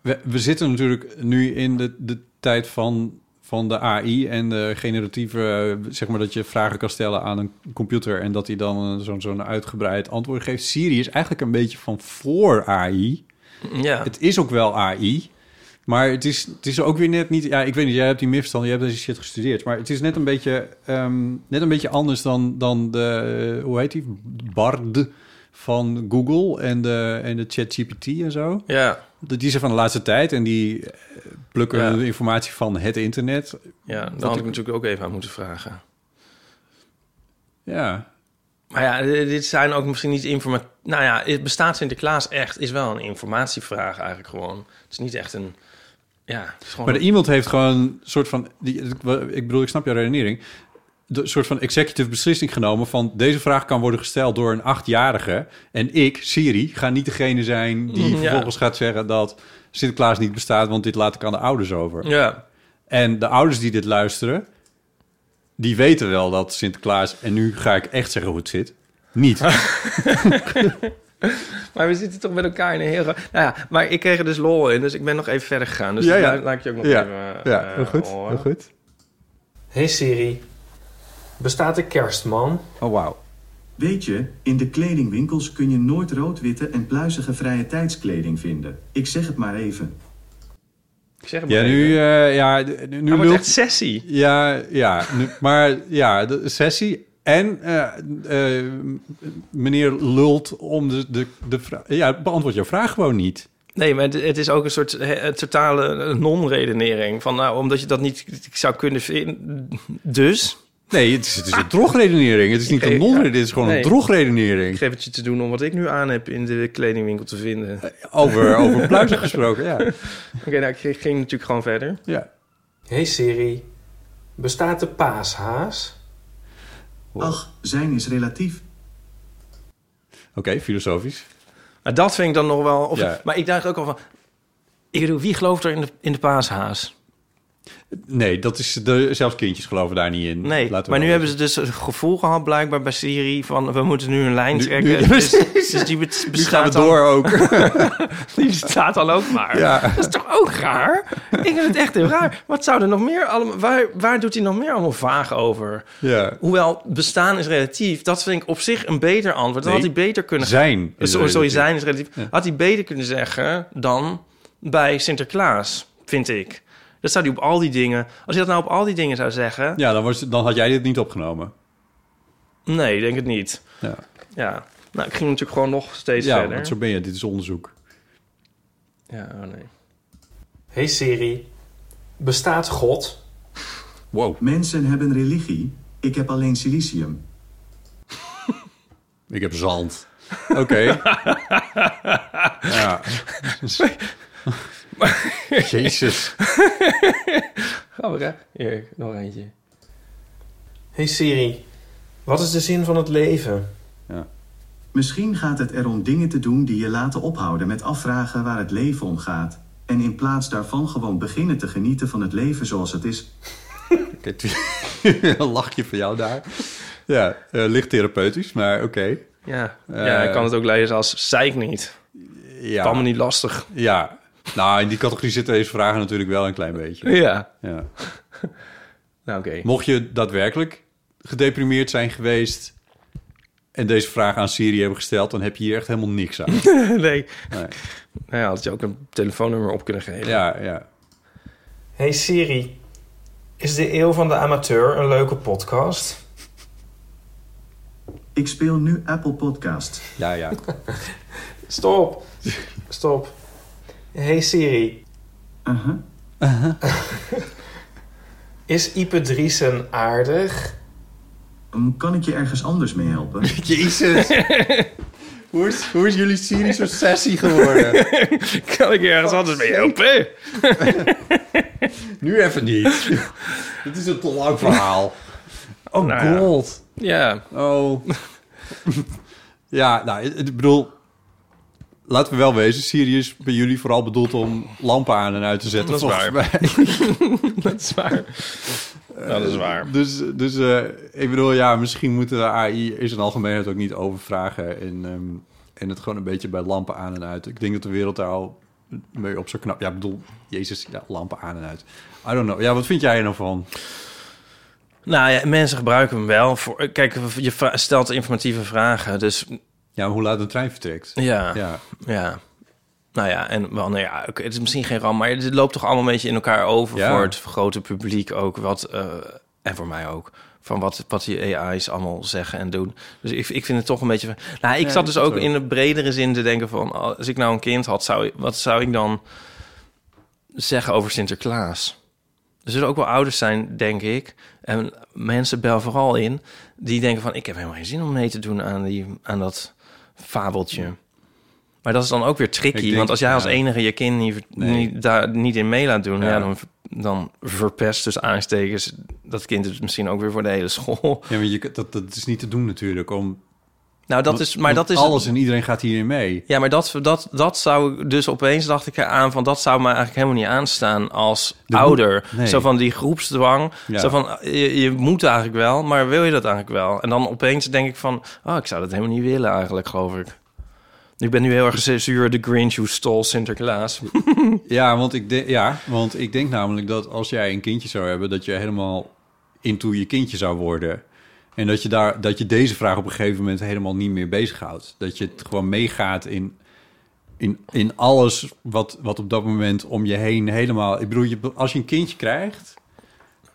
Speaker 2: We, we zitten natuurlijk nu in de, de tijd van, van de AI en de generatieve... eh, Zeg maar dat je vragen kan stellen aan een computer... en dat hij dan een- zo'n zo'n uitgebreid antwoord geeft. Siri is eigenlijk een beetje van voor AI.
Speaker 3: Ja,
Speaker 2: Het is ook wel AI... Maar het is, het is ook weer net niet... Ja, ik weet niet, jij hebt die MIFstand, jij hebt deze shit gestudeerd. Maar het is net een beetje, ehm, net een beetje anders dan, dan de... Hoe heet die? Bard van Google en de, en de ChatGPT en zo.
Speaker 3: ja.
Speaker 2: die zijn van de laatste tijd en die eh, plukken
Speaker 3: Ja.
Speaker 2: de informatie van het internet.
Speaker 3: Ja, daar
Speaker 2: Dat
Speaker 3: had
Speaker 2: ik-
Speaker 3: ik natuurlijk ook even aan moeten vragen.
Speaker 2: Ja.
Speaker 3: Maar ja, eh, dit zijn ook misschien niet informatie. Nou ja, is- bestaat Sinterklaas echt? Is wel een informatievraag eigenlijk gewoon. Het is niet echt een. Ja, het is gewoon.
Speaker 2: Maar de iemand heeft gewoon een soort van... Die, ik bedoel, ik snap jouw redenering. De soort van executive beslissing genomen van... deze vraag kan worden gesteld door een achtjarige... en ik, Siri, ga niet degene zijn die
Speaker 3: Mm, Ja.
Speaker 2: vervolgens gaat zeggen... dat Sinterklaas niet bestaat, want dit laat ik aan de ouders over.
Speaker 3: Ja.
Speaker 2: En de ouders die dit luisteren... die weten wel dat Sinterklaas... en nu ga ik echt zeggen hoe het zit... niet.
Speaker 3: Maar we zitten toch met elkaar in een heel. raar- Nou ja, maar ik kreeg er dus lol in, dus ik ben nog even verder gegaan. Dus
Speaker 2: Ja,
Speaker 3: ja,
Speaker 2: ja.
Speaker 3: laat ik je ook nog
Speaker 2: Ja.
Speaker 3: even. eh,
Speaker 2: Ja, heel
Speaker 3: eh,
Speaker 2: goed,
Speaker 3: horen.
Speaker 2: heel goed.
Speaker 5: Hey Siri, bestaat de kerstman?
Speaker 2: Oh, wauw.
Speaker 6: Weet je, in de kledingwinkels kun je nooit rood-witte en pluizige vrije tijdskleding vinden. Ik zeg het maar even.
Speaker 3: Ik zeg het
Speaker 2: Ja,
Speaker 3: maar
Speaker 2: nu...
Speaker 3: even.
Speaker 2: eh, ja, d- nu
Speaker 3: Hij wordt
Speaker 2: lult-
Speaker 3: echt sessie.
Speaker 2: Ja, ja. nu- maar ja, de sessie. En eh, eh, meneer lult om de, de, de vraag... Ja, beantwoord jouw vraag gewoon niet.
Speaker 3: Nee, maar het, het is ook een soort eh, eh, totale non-redenering. Van nou, omdat je dat niet zou kunnen vinden. Dus.
Speaker 2: Nee, het is, het is
Speaker 3: Ah.
Speaker 2: een drogredenering. Het is niet een non Dit is gewoon
Speaker 3: Nee.
Speaker 2: een drogredenering.
Speaker 3: Ik geef het je te doen om wat ik nu aan heb in de kledingwinkel te vinden.
Speaker 2: Over, over pluizen gesproken, ja.
Speaker 3: Oké, nou, ik ging- ging natuurlijk gewoon verder.
Speaker 2: ja.
Speaker 5: Hey Siri, bestaat de paashaas?
Speaker 6: Ach, zijn is relatief.
Speaker 2: Oké, filosofisch.
Speaker 3: Maar dat vind ik dan nog wel... Of,
Speaker 2: Ja.
Speaker 3: Maar ik dacht ook al van... Ik bedoel, wie gelooft er in de, in de paashaas?
Speaker 2: Nee, dat is de, zelfs kindjes geloven daar niet in.
Speaker 3: Nee,
Speaker 2: Laten we
Speaker 3: maar nu
Speaker 2: wel
Speaker 3: hebben ze
Speaker 2: wezen.
Speaker 3: dus het gevoel gehad blijkbaar bij Siri... van we moeten nu een lijn
Speaker 2: Nu-
Speaker 3: trekken.
Speaker 2: nu- ja,
Speaker 3: dus,
Speaker 2: precies.
Speaker 3: dus die bes-
Speaker 2: Nu gaan we
Speaker 3: bestaat dan,
Speaker 2: door ook.
Speaker 3: Die bestaat dan ook maar.
Speaker 2: Ja.
Speaker 3: Dat is toch ook raar? Ik vind het echt heel raar. Wat zou er nog meer allemaal... Waar, waar doet hij nog meer allemaal vaag over?
Speaker 2: ja.
Speaker 3: Hoewel, bestaan is relatief. Dat vind ik op zich een beter antwoord. Dan
Speaker 2: Nee,
Speaker 3: had hij beter kunnen...
Speaker 2: Zijn.
Speaker 3: Eh,
Speaker 2: is
Speaker 3: Sorry, sorry,
Speaker 2: relatief.
Speaker 3: zijn is relatief. Had hij beter kunnen zeggen dan bij Sinterklaas, vind ik. Dat zou hij op al die dingen... Als hij dat nou op al die dingen zou zeggen...
Speaker 2: Ja, dan, was, dan had jij dit niet opgenomen.
Speaker 3: Nee, ik denk het niet.
Speaker 2: Ja,
Speaker 3: Ja. Nou, ik ging natuurlijk gewoon nog steeds
Speaker 2: ja
Speaker 3: verder.
Speaker 2: want zo ben je. Dit is onderzoek.
Speaker 3: Ja, oh nee.
Speaker 5: Hey Siri, bestaat God?
Speaker 2: Wow.
Speaker 6: Mensen hebben religie. Ik heb alleen silicium.
Speaker 2: Ik heb zand. Oké. ja. Jezus.
Speaker 3: Grappig, hè? Hier, nog eentje.
Speaker 5: Hey Siri, wat is de zin van het leven?
Speaker 6: Misschien gaat het erom dingen te doen die je laten ophouden met afvragen waar het leven om gaat. En in plaats daarvan gewoon beginnen te genieten van het leven zoals het is.
Speaker 2: Oké, tw- Een lachje voor jou daar. Ja, eh, licht therapeutisch, maar oké.
Speaker 3: Ja. ja, ik kan het ook lezen als zei ik niet.
Speaker 2: Eh. Ja.
Speaker 3: Kan me niet lastig.
Speaker 2: Ja. Nou, in die categorie zitten deze vragen natuurlijk wel een klein beetje.
Speaker 3: Ja.
Speaker 2: Ja.
Speaker 3: Nou, oké.
Speaker 2: Mocht je daadwerkelijk gedeprimeerd zijn geweest en deze vraag aan Siri hebben gesteld, dan heb je hier echt helemaal niks aan.
Speaker 3: nee.
Speaker 2: Nee.
Speaker 3: Nou ja, had je ook een telefoonnummer op kunnen geven.
Speaker 2: Ja, ja.
Speaker 5: Hey Siri, is de eeuw van de amateur een leuke podcast?
Speaker 6: Ik speel nu Apple Podcast.
Speaker 2: Ja, ja.
Speaker 5: Stop, stop. Hey Siri,
Speaker 6: Uh-huh.
Speaker 5: is Ipe Driesen aardig?
Speaker 6: Mm, Kan ik je ergens anders mee helpen?
Speaker 2: Jezus. hoe, is, hoe is jullie Siri zo sessie geworden?
Speaker 3: Kan ik ergens anders mee helpen?
Speaker 2: Nu even niet. Dit is een te lang verhaal. Oh
Speaker 3: Nou ja.
Speaker 2: god.
Speaker 3: Ja.
Speaker 2: Oh. ja, nou, ik- ik bedoel... Laten we wel wezen, Siri is bij jullie vooral bedoeld om lampen aan en uit te zetten.
Speaker 3: Dat is
Speaker 2: volgens mij.
Speaker 3: Dat is waar. dat is waar.
Speaker 2: Dus, dus eh, ik bedoel, ja, misschien moeten we AI in zijn algemeenheid ook niet overvragen. En, ehm, en het gewoon een beetje bij lampen aan en uit. Ik denk dat de wereld daar al mee op zou knap. Ja, ik bedoel, jezus, ja, lampen aan en uit. I don't know. Ja, wat vind jij er nou van?
Speaker 3: Nou ja, mensen gebruiken hem wel. Voor, kijk, je vra- stelt informatieve vragen. Dus
Speaker 2: Ja, maar hoe laat een trein vertrekt?
Speaker 3: ja, ja.
Speaker 2: Ja,
Speaker 3: Nou ja, en wel, nou ja, oké, het is misschien geen ramp, maar het loopt toch allemaal een beetje in elkaar over
Speaker 2: Ja.
Speaker 3: voor het grote publiek ook. Wat, eh, en voor mij ook. Van wat, wat die AI's allemaal zeggen en doen. Dus ik, ik vind het toch een beetje... van- Nou, ik
Speaker 2: Ja,
Speaker 3: zat dus
Speaker 2: dat
Speaker 3: ook
Speaker 2: ook.
Speaker 3: in de bredere zin te denken van... Als ik nou een kind had, zou, ik- wat zou ik dan zeggen over Sinterklaas? Er zullen ook wel ouders zijn, denk ik. En mensen bel vooral in. Die denken van, ik heb helemaal geen zin om mee te doen aan, die, aan dat fabeltje. Maar dat is dan ook weer tricky.
Speaker 2: Ik denk-
Speaker 3: want als jij als
Speaker 2: ja.
Speaker 3: enige je kind niet,
Speaker 2: Nee.
Speaker 3: niet, daar niet in mee laat doen... Ja.
Speaker 2: Ja.
Speaker 3: dan, dan verpest dus aanstekens dat kind het misschien ook weer voor de hele school.
Speaker 2: Ja, maar je, kunt- dat, dat is niet te doen natuurlijk. Om,
Speaker 3: Nou, dat is... Maar
Speaker 2: want
Speaker 3: dat is
Speaker 2: alles en iedereen gaat hierin mee.
Speaker 3: Ja, maar dat, dat, dat zou ik dus opeens dacht ik aan van dat zou me eigenlijk helemaal niet aanstaan als
Speaker 2: De
Speaker 3: ouder.
Speaker 2: groep- nee.
Speaker 3: Zo van die groepsdwang.
Speaker 2: Ja.
Speaker 3: Zo van je, je moet eigenlijk wel, maar wil je dat eigenlijk wel? En dan opeens denk ik van, oh, ik zou dat helemaal niet willen eigenlijk, geloof ik. Ik ben nu heel erg zuur de Grinch who stole Sinterklaas.
Speaker 2: Ja nou, want, ik de, ja, want ik denk namelijk dat als jij een kindje zou hebben... dat je helemaal into je kindje zou worden. En dat je, daar, dat je deze vraag op een gegeven moment helemaal niet meer bezighoudt. Dat je het gewoon meegaat in, in, in alles wat, wat op dat moment om je heen helemaal... Ik bedoel, je, als je een kindje krijgt...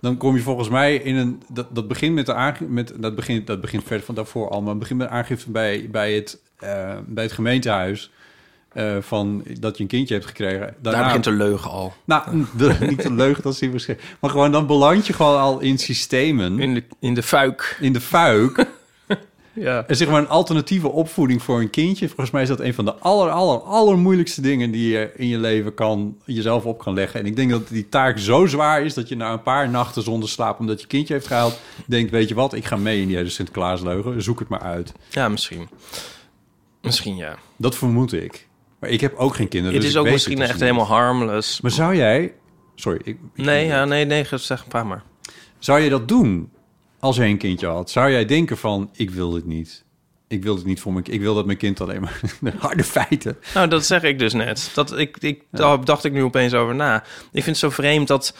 Speaker 2: dan kom je volgens mij in een... Dat, dat begint met de aangifte... Met, dat, begint, dat begint verder van daarvoor al... maar het begint met aangifte bij, bij, het, eh, bij het gemeentehuis... eh, van dat je een kindje hebt gekregen.
Speaker 3: Daar
Speaker 2: Daarna-
Speaker 3: begint de leugen al.
Speaker 2: nou, de- niet de leugen, dat is hier waarschijnlijk. Maar gewoon, dan beland je gewoon al in systemen, in,
Speaker 3: In de, in de fuik.
Speaker 2: de fuik.
Speaker 3: Ja.
Speaker 2: En zeg maar een alternatieve opvoeding voor een kindje. Volgens mij is dat een van de aller, aller, allermoeilijkste dingen die je in je leven kan, jezelf op kan leggen. En ik denk dat die taak zo zwaar is dat je na een paar nachten zonder slaap, omdat je kindje heeft gehaald, denkt, weet je wat, ik ga mee in die hele Sinterklaasleugen, zoek het maar uit.
Speaker 3: Ja, misschien. Misschien ja.
Speaker 2: Dat vermoed ik. Maar ik heb ook geen kinderen.
Speaker 3: het
Speaker 2: dus
Speaker 3: is
Speaker 2: ik
Speaker 3: ook
Speaker 2: weet
Speaker 3: misschien
Speaker 2: dus
Speaker 3: echt
Speaker 2: niet.
Speaker 3: helemaal harmless.
Speaker 2: Maar zou jij... Sorry, ik, ik-
Speaker 3: Nee, ja, nee, nee, zeg pa maar.
Speaker 2: Zou je dat doen als je een kindje had? Zou jij denken van, ik wil dit niet. Ik wil dit niet voor mijn kind. Ik wil dat mijn kind alleen maar... De harde feiten.
Speaker 3: Nou, dat zeg ik dus net. Dat, ik, ik, Daar dacht ik nu opeens over na. Ik vind het zo vreemd dat...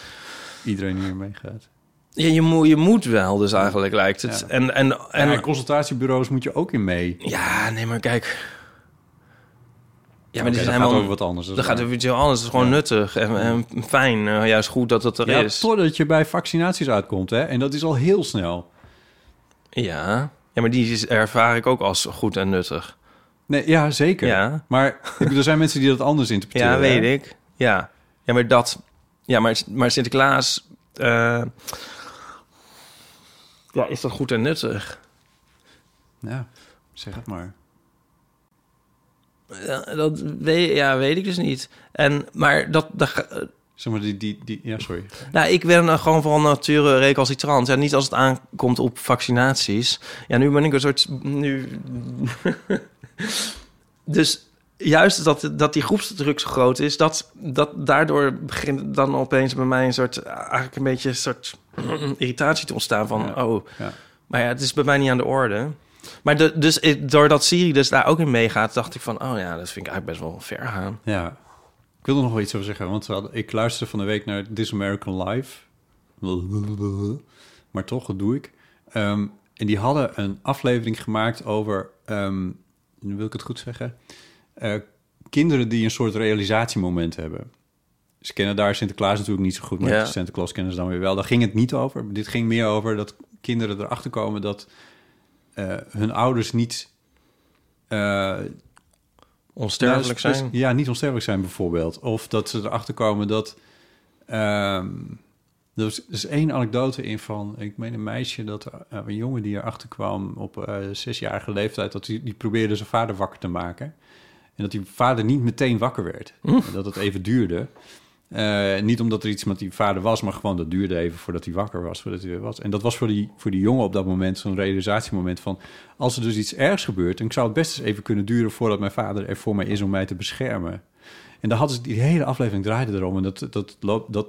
Speaker 2: Iedereen hier mee gaat.
Speaker 3: Ja, je, moet, je moet wel dus eigenlijk, lijkt het.
Speaker 2: Ja.
Speaker 3: En, en,
Speaker 2: En
Speaker 3: en,
Speaker 2: consultatiebureaus moet je ook in mee.
Speaker 3: ja, nee, maar kijk... Ja, maar
Speaker 2: Oké,
Speaker 3: dit is
Speaker 2: dat
Speaker 3: helemaal...
Speaker 2: gaat over wat anders.
Speaker 3: dat gaat over iets heel anders. Het is gewoon nuttig en, en fijn. Eh, juist goed dat dat er
Speaker 2: ja,
Speaker 3: is.
Speaker 2: totdat je bij vaccinaties uitkomt, hè? En dat is al heel snel.
Speaker 3: Ja. ja, maar die is, ervaar ik ook als goed en nuttig.
Speaker 2: Nee, ja, zeker.
Speaker 3: Ja.
Speaker 2: Maar ik bedoel, er zijn mensen die dat anders
Speaker 3: Ja,
Speaker 2: interpreteren.
Speaker 3: weet ik. Ja, ja maar dat... Ja, maar, maar Sinterklaas... eh, ja, is dat goed en nuttig?
Speaker 2: Ja, zeg het maar.
Speaker 3: Ja, dat weet, ja, weet ik dus niet. En, maar dat, dat, ga- eh,
Speaker 2: Zeg maar, die... die, die ja, sorry.
Speaker 3: nou, ik ben eh, gewoon van nature recalcitrant. Ja, niet als het aankomt op vaccinaties. Ja, nu ben ik een soort... Nu... dus juist dat, dat die groepsdruk zo groot is... Dat, dat daardoor begint dan opeens bij mij een soort... Eigenlijk een beetje een soort irritatie te ontstaan van...
Speaker 2: Ja.
Speaker 3: Oh,
Speaker 2: Ja.
Speaker 3: maar ja, het is bij mij niet aan de orde. Maar de, dus eh, doordat Siri dus daar ook in meegaat... dacht ik van, oh ja, dat vind ik eigenlijk best wel ver gaan.
Speaker 2: Ja. Ik wil er nog wel iets over zeggen, want we hadden- ik luisterde van de week naar This American Life. Maar toch, dat doe ik. Ehm, en die hadden een aflevering gemaakt over, ehm, nu wil ik het goed zeggen, eh, kinderen die een soort realisatiemoment hebben. Ze kennen daar Sinterklaas natuurlijk niet zo goed, maar
Speaker 3: Ja.
Speaker 2: Sinterklaas kennen ze dan weer wel. Daar ging het niet over. Dit ging meer over dat kinderen erachter komen dat eh, hun ouders niet eh,
Speaker 3: Onsterfelijk
Speaker 2: nou, dus-
Speaker 3: zijn.
Speaker 2: Ja, niet onsterfelijk zijn bijvoorbeeld. Of dat ze erachter komen dat... ehm er is- er is één anekdote in van... Ik meen een meisje, dat eh, een jongen die erachter kwam... op eh, zesjarige leeftijd, dat die, die probeerde zijn vader wakker te maken. En dat die vader niet meteen wakker werd. En dat het even duurde. Eh, niet omdat er iets met die vader was, maar gewoon dat duurde even voordat hij wakker was, voordat hij weer was. En dat was voor die, voor die jongen op dat moment zo'n realisatiemoment van... als er dus iets ergs gebeurt, dan zou het best eens even kunnen duren... voordat mijn vader er voor mij is om mij te beschermen. En daar hadden ze die hele aflevering draaide erom. En dat, dat, loopt, dat,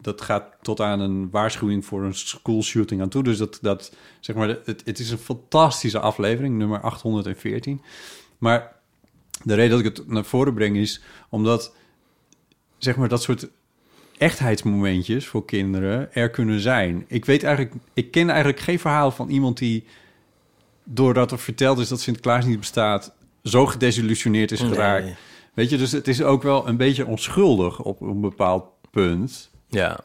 Speaker 2: dat gaat tot aan een waarschuwing voor een school shooting aan toe. Dus dat, dat zeg maar, het, het is een fantastische aflevering, nummer 814. Maar de reden dat ik het naar voren breng is omdat zeg maar dat soort echtheidsmomentjes voor kinderen er kunnen zijn. Ik weet eigenlijk, ik ken eigenlijk geen verhaal van iemand die doordat er verteld is dat Sinterklaas niet bestaat, zo gedesillusioneerd is geraakt.
Speaker 3: Nee.
Speaker 2: Weet je, dus het is ook wel een beetje onschuldig op een bepaald punt.
Speaker 3: Ja.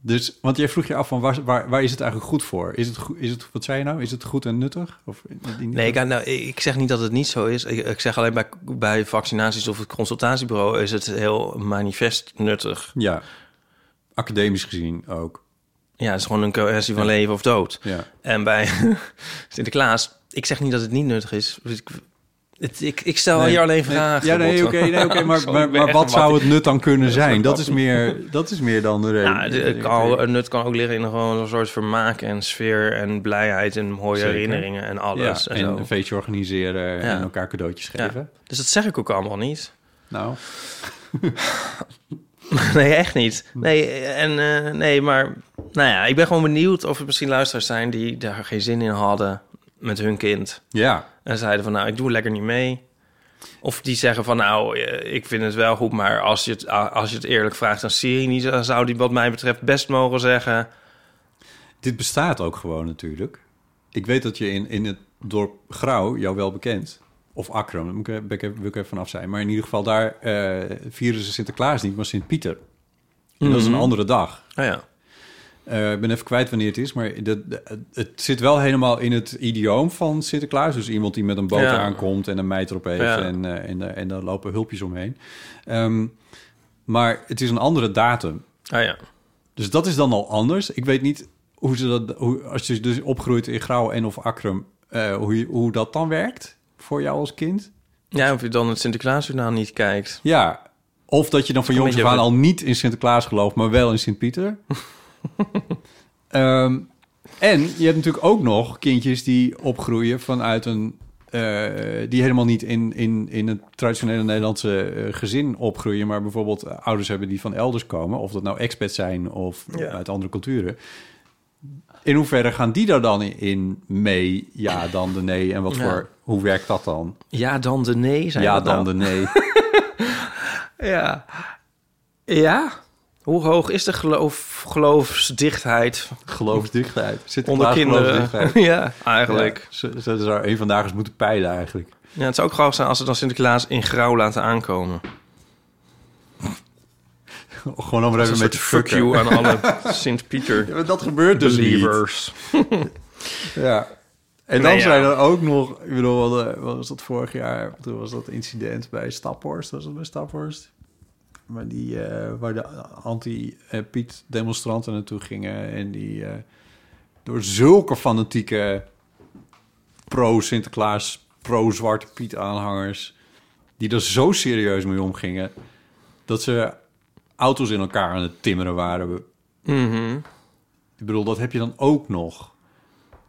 Speaker 2: Dus, want jij vroeg je af van waar, waar, waar is het eigenlijk goed voor? Is het, goe- is het, wat zei je nou? Is het goed en nuttig? Of, eh,
Speaker 3: Nee, ik, nou, ik zeg niet dat het niet zo is. Ik, ik zeg alleen bij, bij vaccinaties of het consultatiebureau is het heel manifest nuttig.
Speaker 2: Ja, academisch gezien ook.
Speaker 3: Ja, het is gewoon een cohesie van leven of dood.
Speaker 2: Ja.
Speaker 3: En bij Sinterklaas, ik zeg niet dat het niet nuttig is. Dus ik, het- ik, ik stel
Speaker 2: Nee,
Speaker 3: je Oh, alleen
Speaker 2: nee.
Speaker 3: vragen.
Speaker 2: Ja, nee,
Speaker 3: Botte.
Speaker 2: oké, nee, oké, maar,
Speaker 3: Sorry,
Speaker 2: maar,
Speaker 3: ik ben
Speaker 2: maar
Speaker 3: echt
Speaker 2: wat zou
Speaker 3: een
Speaker 2: het nut dan kunnen zijn? Dat is
Speaker 3: grapje.
Speaker 2: meer, dat is meer dan de reden.
Speaker 3: Ja, de- Nou, het kan, het nut kan ook liggen in gewoon een soort vermaak en sfeer en blijheid en mooie
Speaker 2: Zeker.
Speaker 3: herinneringen en alles.
Speaker 2: Ja,
Speaker 3: en
Speaker 2: en
Speaker 3: zo.
Speaker 2: een feestje organiseren
Speaker 3: Ja.
Speaker 2: en elkaar cadeautjes
Speaker 3: Ja.
Speaker 2: geven.
Speaker 3: Dus dat zeg ik ook allemaal niet.
Speaker 2: Nou,
Speaker 3: Nee, echt niet. Nee, en, eh, nee, maar nou ja, ik ben gewoon benieuwd of er misschien luisteraars zijn die daar geen zin in hadden met hun kind.
Speaker 2: ja.
Speaker 3: En zeiden van, nou, ik doe lekker niet mee. Of die zeggen van, nou, eh, ik vind het wel goed, maar als je het, als je het eerlijk vraagt aan Siri niet, dan zou die wat mij betreft best mogen zeggen.
Speaker 2: Dit bestaat ook gewoon natuurlijk. Ik weet dat je in, in het dorp Grauw, jou wel bekend, of Akram, daar moet ik, ben ik even- wil ik even vanaf zijn. Maar in ieder geval, daar eh, vieren ze Sinterklaas niet, maar Sint-Pieter. En dat is een
Speaker 3: Mhm.
Speaker 2: andere dag.
Speaker 3: Oh ja.
Speaker 2: Eh, ik ben even kwijt wanneer het is, maar dat, dat- het zit wel helemaal in het idioom van Sinterklaas. Dus iemand die met een boot
Speaker 3: Ja.
Speaker 2: aankomt en een meid erop heeft
Speaker 3: Ja.
Speaker 2: en, eh, en, eh, en daar lopen hulpjes omheen. Ehm, maar het is een andere datum.
Speaker 3: Ah ja.
Speaker 2: Dus dat is dan al anders. Ik weet niet hoe ze dat, hoe, als je dus opgroeit in Grauw en of Akrum, eh, hoe, je- hoe dat dan werkt voor jou als kind.
Speaker 3: Ja, of je dan het Sinterklaasjournaal niet kijkt.
Speaker 2: Ja, of dat je dan van
Speaker 3: Een
Speaker 2: jongs af
Speaker 3: beetje
Speaker 2: aan
Speaker 3: wat-
Speaker 2: al niet in Sinterklaas gelooft, maar wel in Sint-Pieter. Ehm, en je hebt natuurlijk ook nog kindjes die opgroeien vanuit een... eh, die helemaal niet in, in, in het traditionele Nederlandse eh, gezin opgroeien... maar bijvoorbeeld eh, ouders hebben die van elders komen. Of dat nou expats zijn of
Speaker 3: Ja.
Speaker 2: uit andere culturen. In hoeverre gaan die daar dan in mee? Ja, dan de nee. En wat
Speaker 3: Ja.
Speaker 2: voor... Hoe werkt dat dan?
Speaker 3: Ja, dan de nee, zijn
Speaker 2: ja,
Speaker 3: dat
Speaker 2: dan
Speaker 3: nou?
Speaker 2: de nee.
Speaker 3: Ja. Ja? Hoe hoog is de geloof, geloofsdichtheid
Speaker 2: geloofsdichtheid. Zit
Speaker 3: onder kinderen? ja, eigenlijk. Ja.
Speaker 2: ze, ze zou een vandaag eens moeten peilen eigenlijk.
Speaker 3: het zou ook grappig zijn als ze dan Sinterklaas in grauw laten aankomen.
Speaker 2: Gewoon om er
Speaker 3: Als
Speaker 2: even
Speaker 3: een
Speaker 2: mee
Speaker 3: soort
Speaker 2: te
Speaker 3: fuck
Speaker 2: fucken.
Speaker 3: you aan alle Sint-Pieter
Speaker 2: Ja, maar dat gebeurt dus niet.
Speaker 3: believers.
Speaker 2: Ja. En dan
Speaker 3: Nee, ja.
Speaker 2: zijn er ook nog... Ik bedoel, wat, eh, wat was dat vorig jaar? Toen was dat incident bij Staphorst. Was dat bij Staphorst? Maar die, eh, waar de anti-Piet-demonstranten naartoe gingen... en die eh, door zulke fanatieke pro-Sinterklaas, pro-Zwarte Piet-aanhangers... die er zo serieus mee omgingen... dat ze auto's in elkaar aan het timmeren waren.
Speaker 3: Mhm.
Speaker 2: Ik bedoel, dat heb je dan ook nog.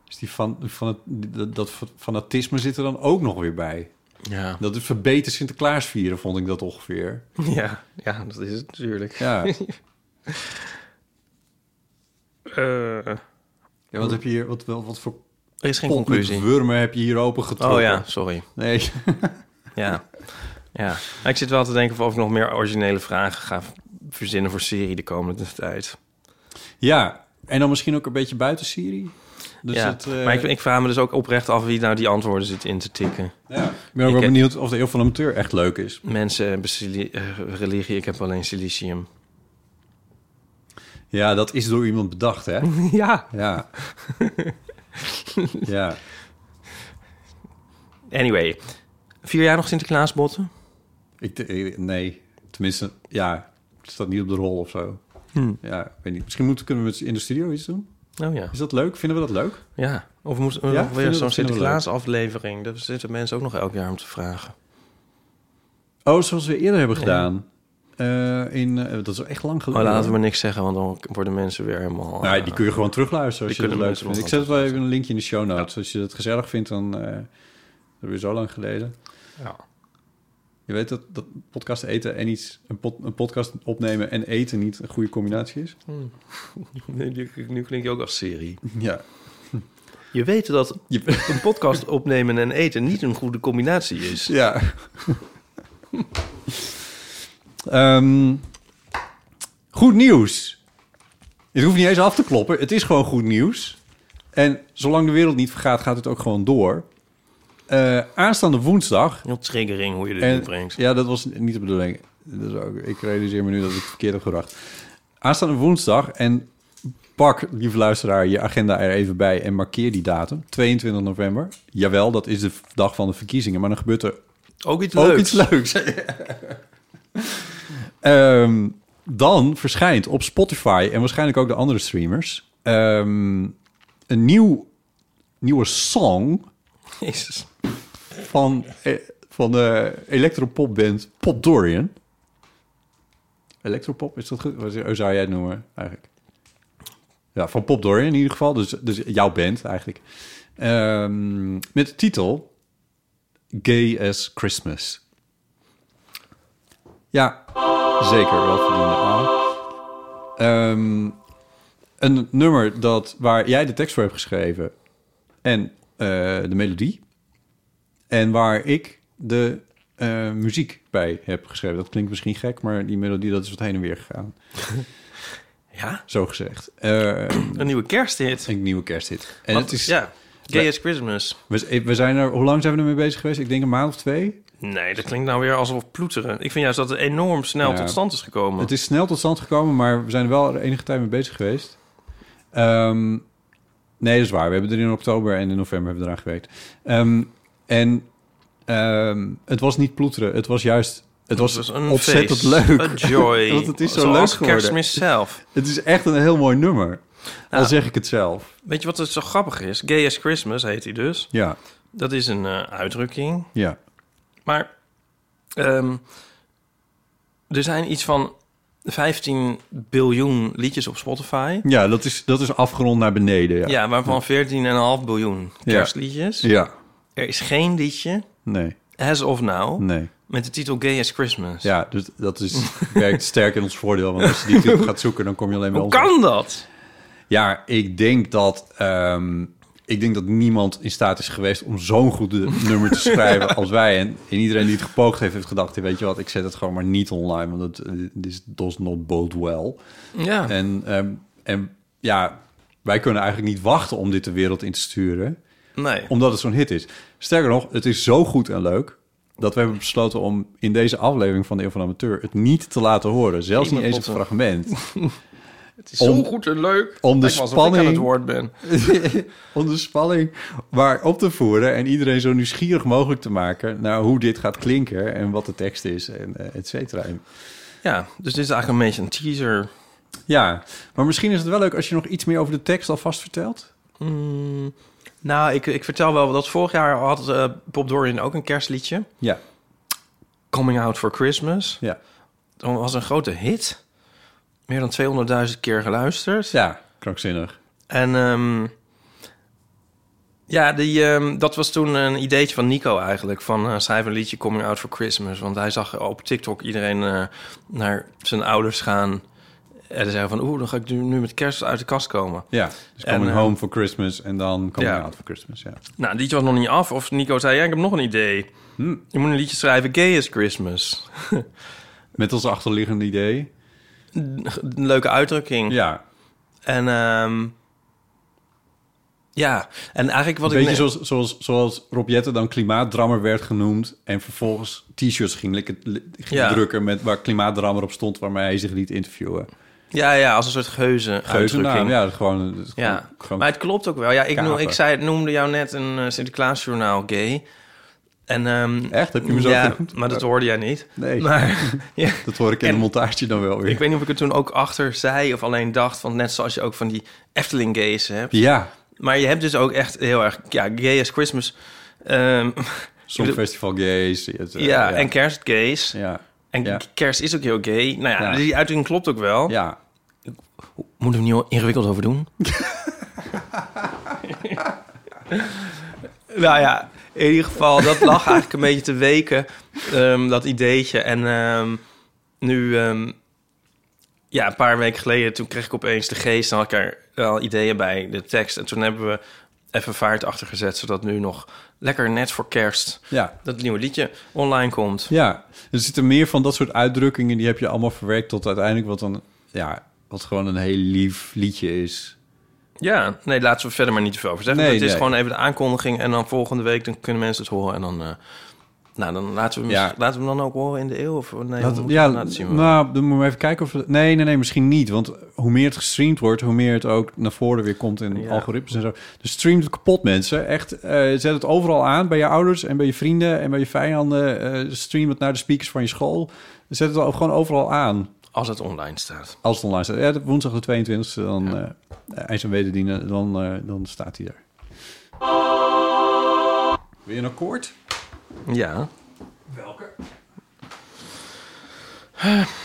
Speaker 2: Dus die van, van het, dat, dat fanatisme zit er dan ook nog weer bij.
Speaker 3: Ja.
Speaker 2: Dat het verbeter Sinterklaas vieren, vond ik dat ongeveer.
Speaker 3: Ja, ja, dat is het natuurlijk.
Speaker 2: Ja,
Speaker 3: Eh,
Speaker 2: ja wat heb je hier, wat, wat, wat voor
Speaker 3: er is geen
Speaker 2: pot met
Speaker 3: conclusie.
Speaker 2: wurmen heb je hier open getrokken?
Speaker 3: Oh ja, sorry.
Speaker 2: Nee,
Speaker 3: Ja. ja. Maar Ik zit wel te denken of ik nog meer originele vragen ga verzinnen voor serie de komende tijd.
Speaker 2: ja. En dan misschien ook een beetje buiten Syrië. Dus
Speaker 3: ja.
Speaker 2: het, eh,
Speaker 3: Maar ik, ik vraag me dus ook oprecht af wie nou die antwoorden zit in te tikken.
Speaker 2: ja. ik ben ook wel
Speaker 3: ik-
Speaker 2: benieuwd of de Eeuw van de Amateur echt leuk is.
Speaker 3: Mensen hebben sili- eh, religie, ik heb alleen silicium.
Speaker 2: Ja, dat is door iemand bedacht, hè?
Speaker 3: ja.
Speaker 2: Ja. ja.
Speaker 3: Anyway, vier jaar nog Sinterklaas botten?
Speaker 2: Ik, ik- nee, tenminste, ja, het staat niet op de rol of zo. Ja, ik weet niet. Misschien moeten, kunnen we met- in de studio iets doen.
Speaker 3: Oh ja.
Speaker 2: Is dat leuk? Vinden we dat leuk?
Speaker 3: Ja, of moet
Speaker 2: Ja,
Speaker 3: nog
Speaker 2: vinden
Speaker 3: weer
Speaker 2: we-
Speaker 3: zo'n
Speaker 2: vinden we
Speaker 3: Sinterklaas-aflevering. Daar zitten mensen ook nog elk jaar om te vragen.
Speaker 2: Oh, zoals we eerder hebben gedaan. Eh, in, eh, dat is echt lang
Speaker 3: Maar
Speaker 2: geleden.
Speaker 3: Oh, laten we
Speaker 2: hoor.
Speaker 3: niks zeggen, want dan worden mensen weer helemaal...
Speaker 2: Nou,
Speaker 3: eh,
Speaker 2: die kun je gewoon terugluisteren als
Speaker 3: die
Speaker 2: je dat
Speaker 3: kunnen
Speaker 2: leuk
Speaker 3: mensen
Speaker 2: vindt. Ik
Speaker 3: wel
Speaker 2: zet wel even een linkje in de show notes. Als je dat gezellig vindt, dan... eh dat is weer zo lang geleden.
Speaker 3: Ja.
Speaker 2: Je weet dat, dat podcast eten en iets... Een, pod- een podcast opnemen en eten niet een goede combinatie is?
Speaker 3: Nu, nu- nu klink je ook als serie.
Speaker 2: Ja.
Speaker 3: Je weet dat
Speaker 2: Je-
Speaker 3: een podcast opnemen en eten niet een goede combinatie is.
Speaker 2: Ja. Ehm, goed nieuws. Het hoeft niet eens af te kloppen. Het is gewoon goed nieuws. En zolang de wereld niet vergaat, gaat het ook gewoon door. Eh, aanstaande woensdag.
Speaker 3: Heel triggering hoe je dit
Speaker 2: en-
Speaker 3: inbrengt.
Speaker 2: ja, dat was niet de bedoeling. Dat is ook, ik realiseer me nu dat ik het verkeerd heb gedacht. Aanstaande woensdag en Pak, lieve luisteraar, je agenda er even bij en markeer die datum. 22 november. Jawel, dat is de v- dag van de verkiezingen, maar dan gebeurt er
Speaker 3: Ook iets
Speaker 2: ook
Speaker 3: leuks.
Speaker 2: iets leuks. Ehm, dan verschijnt op Spotify en waarschijnlijk ook de andere streamers ehm, een nieuw, nieuwe song
Speaker 3: Jezus.
Speaker 2: van, eh, van de electropopband Pop Dorian. Electropop, is dat goed? Wat hoe zou jij het noemen eigenlijk? Ja, van Pop Dorian in ieder geval. Dus, dus jouw band eigenlijk. Ehm, met de titel Gay as Christmas. Ja, zeker. Wel verdiende aan. Ehm, een nummer dat, waar jij de tekst voor hebt geschreven. En eh, de melodie. En waar ik de eh, muziek bij heb geschreven. Dat klinkt misschien gek, maar die melodie dat is wat heen en weer gegaan.
Speaker 3: Ja?
Speaker 2: Zo gezegd. Eh,
Speaker 3: Een nieuwe kersthit.
Speaker 2: een nieuwe kersthit. En
Speaker 3: Want,
Speaker 2: het is,
Speaker 3: Ja, Gay as Christmas.
Speaker 2: we, eh, we zijn er, hoe lang zijn we ermee bezig geweest? Ik denk een maand of twee.
Speaker 3: Nee, dat klinkt nou weer alsof ploeteren. Ik vind juist dat het enorm snel
Speaker 2: Ja.
Speaker 3: tot stand is gekomen.
Speaker 2: Het is snel tot stand gekomen, maar we zijn er wel enige tijd mee bezig geweest. Ehm, nee, dat is waar. We hebben er in oktober en in november hebben we eraan gewerkt. Ehm, en ehm, het was niet ploeteren. Het was juist... Het was,
Speaker 3: Het
Speaker 2: ontzettend
Speaker 3: feest.
Speaker 2: leuk.
Speaker 3: Een joy.
Speaker 2: Want het is zo
Speaker 3: Zoals
Speaker 2: leuk geworden.
Speaker 3: kerstmis zelf.
Speaker 2: Het is echt een heel mooi nummer. Al
Speaker 3: Ja.
Speaker 2: zeg ik het zelf.
Speaker 3: Weet je wat het zo grappig is? Gay as Christmas heet hij dus.
Speaker 2: Ja,
Speaker 3: Dat is een eh, uitdrukking.
Speaker 2: ja.
Speaker 3: Maar ehm, er zijn iets van 15 biljoen liedjes op Spotify.
Speaker 2: Ja, dat is, dat is afgerond naar beneden. Ja.
Speaker 3: Ja, waarvan 14,5 biljoen kerstliedjes.
Speaker 2: Ja.
Speaker 3: Er is geen liedje,
Speaker 2: Nee,
Speaker 3: as of now,
Speaker 2: nee.
Speaker 3: met de titel Gay as Christmas.
Speaker 2: Ja, dus dat is, werkt sterk in ons voordeel. Want als je die titel gaat zoeken, dan kom je alleen bij
Speaker 3: Hoe
Speaker 2: ons.
Speaker 3: kan dat?
Speaker 2: Ja, ik denk dat... ehm, ik denk dat niemand in staat is geweest om zo'n goed nummer te schrijven als wij. En, en iedereen die het gepoogd heeft, heeft gedacht... weet je wat, ik zet het gewoon maar niet online, want het eh, this does not bode well.
Speaker 3: Ja,
Speaker 2: En, ehm, en ja, wij kunnen eigenlijk niet wachten om dit de wereld in te sturen...
Speaker 3: nee.
Speaker 2: omdat het zo'n hit is. Sterker nog, het is zo goed en leuk dat we hebben besloten om in deze aflevering van de Eeuw van de Amateur het niet te laten horen. Zelfs niet eens
Speaker 3: Niemand
Speaker 2: het
Speaker 3: potten.
Speaker 2: fragment.
Speaker 3: Het is
Speaker 2: om-
Speaker 3: zo goed en leuk.
Speaker 2: om de
Speaker 3: Lijkt wel alsof ik aan
Speaker 2: spanning-
Speaker 3: het woord ben.
Speaker 2: om de spanning waar op te voeren en iedereen zo nieuwsgierig mogelijk te maken naar hoe dit gaat klinken en wat de tekst is en eh, et cetera.
Speaker 3: Ja, dus dit is eigenlijk een beetje een teaser.
Speaker 2: Ja, maar misschien is het wel leuk als je nog iets meer over de tekst alvast vertelt.
Speaker 3: Mm, nou, ik, ik vertel wel dat vorig jaar had eh Bob Dorian ook een kerstliedje.
Speaker 2: Ja,
Speaker 3: Coming Out for Christmas.
Speaker 2: ja,
Speaker 3: Dat was een grote hit. Meer dan 200.000 keer geluisterd.
Speaker 2: ja, krankzinnig.
Speaker 3: En ehm, ja, die, ehm, dat was toen een ideetje van Nico eigenlijk. Van eh schrijf een liedje Coming Out for Christmas. Want hij zag op TikTok iedereen eh, naar zijn ouders gaan. En zeggen van, oeh, dan ga ik nu, nu met kerst uit de kast komen.
Speaker 2: Ja, dus
Speaker 3: En,
Speaker 2: coming
Speaker 3: eh,
Speaker 2: home for Christmas en dan coming
Speaker 3: ja.
Speaker 2: out for Christmas. Ja.
Speaker 3: Nou, het liedje was nog niet af. Of Nico zei, ja, ik heb nog een idee.
Speaker 2: Hmm.
Speaker 3: Je moet een liedje schrijven, Gay is Christmas.
Speaker 2: Met als achterliggende idee.
Speaker 3: Een leuke uitdrukking.
Speaker 2: Ja,
Speaker 3: En ehm, ja, en eigenlijk wat
Speaker 2: Een
Speaker 3: ik...
Speaker 2: beetje zoals, zoals, zoals Rob Jetten dan klimaatdrammer werd genoemd... en vervolgens t-shirts ging, likken- li- ging
Speaker 3: Ja.
Speaker 2: drukken met, waar klimaatdrammer op stond... waarmee hij zich liet interviewen.
Speaker 3: Ja, ja, als een soort geuze
Speaker 2: Geuzennaam,
Speaker 3: uitdrukking.
Speaker 2: ja, dat is gewoon, dat is
Speaker 3: Ja,
Speaker 2: gewoon, gewoon-
Speaker 3: maar het klopt ook wel. Ja, ik, noem,
Speaker 2: Kaven.
Speaker 3: ik zei, noemde jou net een eh, Sinterklaasjournaal gay. En, ehm,
Speaker 2: Echt? Heb je me zo
Speaker 3: ja,
Speaker 2: genoemd?
Speaker 3: maar dat hoorde jij niet.
Speaker 2: Nee,
Speaker 3: Maar ja,
Speaker 2: dat hoor ik in
Speaker 3: en-
Speaker 2: de montage dan wel weer.
Speaker 3: ik weet niet of ik er toen ook achter zei of alleen dacht... van net zoals je ook van die Efteling gays hebt.
Speaker 2: Ja,
Speaker 3: Maar je hebt dus ook echt heel erg... Ja, gay is Christmas. Ehm,
Speaker 2: Songfestival Gays. het, eh,
Speaker 3: ja, en kerst gays.
Speaker 2: Ja,
Speaker 3: En
Speaker 2: Ja.
Speaker 3: kerst is ook heel gay. Nou ja,
Speaker 2: Ja.
Speaker 3: die uitdrukking klopt ook wel.
Speaker 2: ja.
Speaker 3: Moeten we er niet ingewikkeld over doen? nou ja, in ieder geval, dat lag eigenlijk een beetje te weken, ehm, dat ideetje. En ehm, nu, ehm, ja, een paar weken geleden, toen kreeg ik opeens de geest... en had ik er wel ideeën bij, de tekst. En toen hebben we even vaart achter gezet, zodat nu nog lekker net voor kerst...
Speaker 2: ja.
Speaker 3: dat nieuwe liedje online komt.
Speaker 2: Ja, er zitten meer van dat soort uitdrukkingen... die heb je allemaal verwerkt tot uiteindelijk wat dan... Ja, wat gewoon een heel lief liedje is.
Speaker 3: Ja, nee, laten we verder maar niet te veel over zeggen.
Speaker 2: Nee,
Speaker 3: het is
Speaker 2: nee.
Speaker 3: gewoon even de aankondiging en dan volgende week dan kunnen mensen het horen en dan eh, Nou, dan laten we, hem,
Speaker 2: Ja.
Speaker 3: laten we hem dan ook horen in de eeuw. Of, nee,
Speaker 2: Laat-
Speaker 3: we moeten
Speaker 2: ja,
Speaker 3: hem laten zien.
Speaker 2: nou, dan moeten we even kijken of... we- Nee, nee, nee, misschien niet. Want hoe meer het gestreamd wordt, hoe meer het ook naar voren weer komt in
Speaker 3: Ja.
Speaker 2: algoritmes en zo. Dus streamt het kapot, mensen. Echt, eh, zet het overal aan. Bij je ouders en bij je vrienden en bij je vijanden. Eh, stream het naar de speakers van je school. Zet het ook gewoon overal aan.
Speaker 3: Als het online staat.
Speaker 2: Als het online staat. Ja, de- woensdag de 22e, dan eh IJs en Wederdienen, dan, eh, dan staat hij er. Weer een akkoord?
Speaker 3: Ja.
Speaker 2: Welke?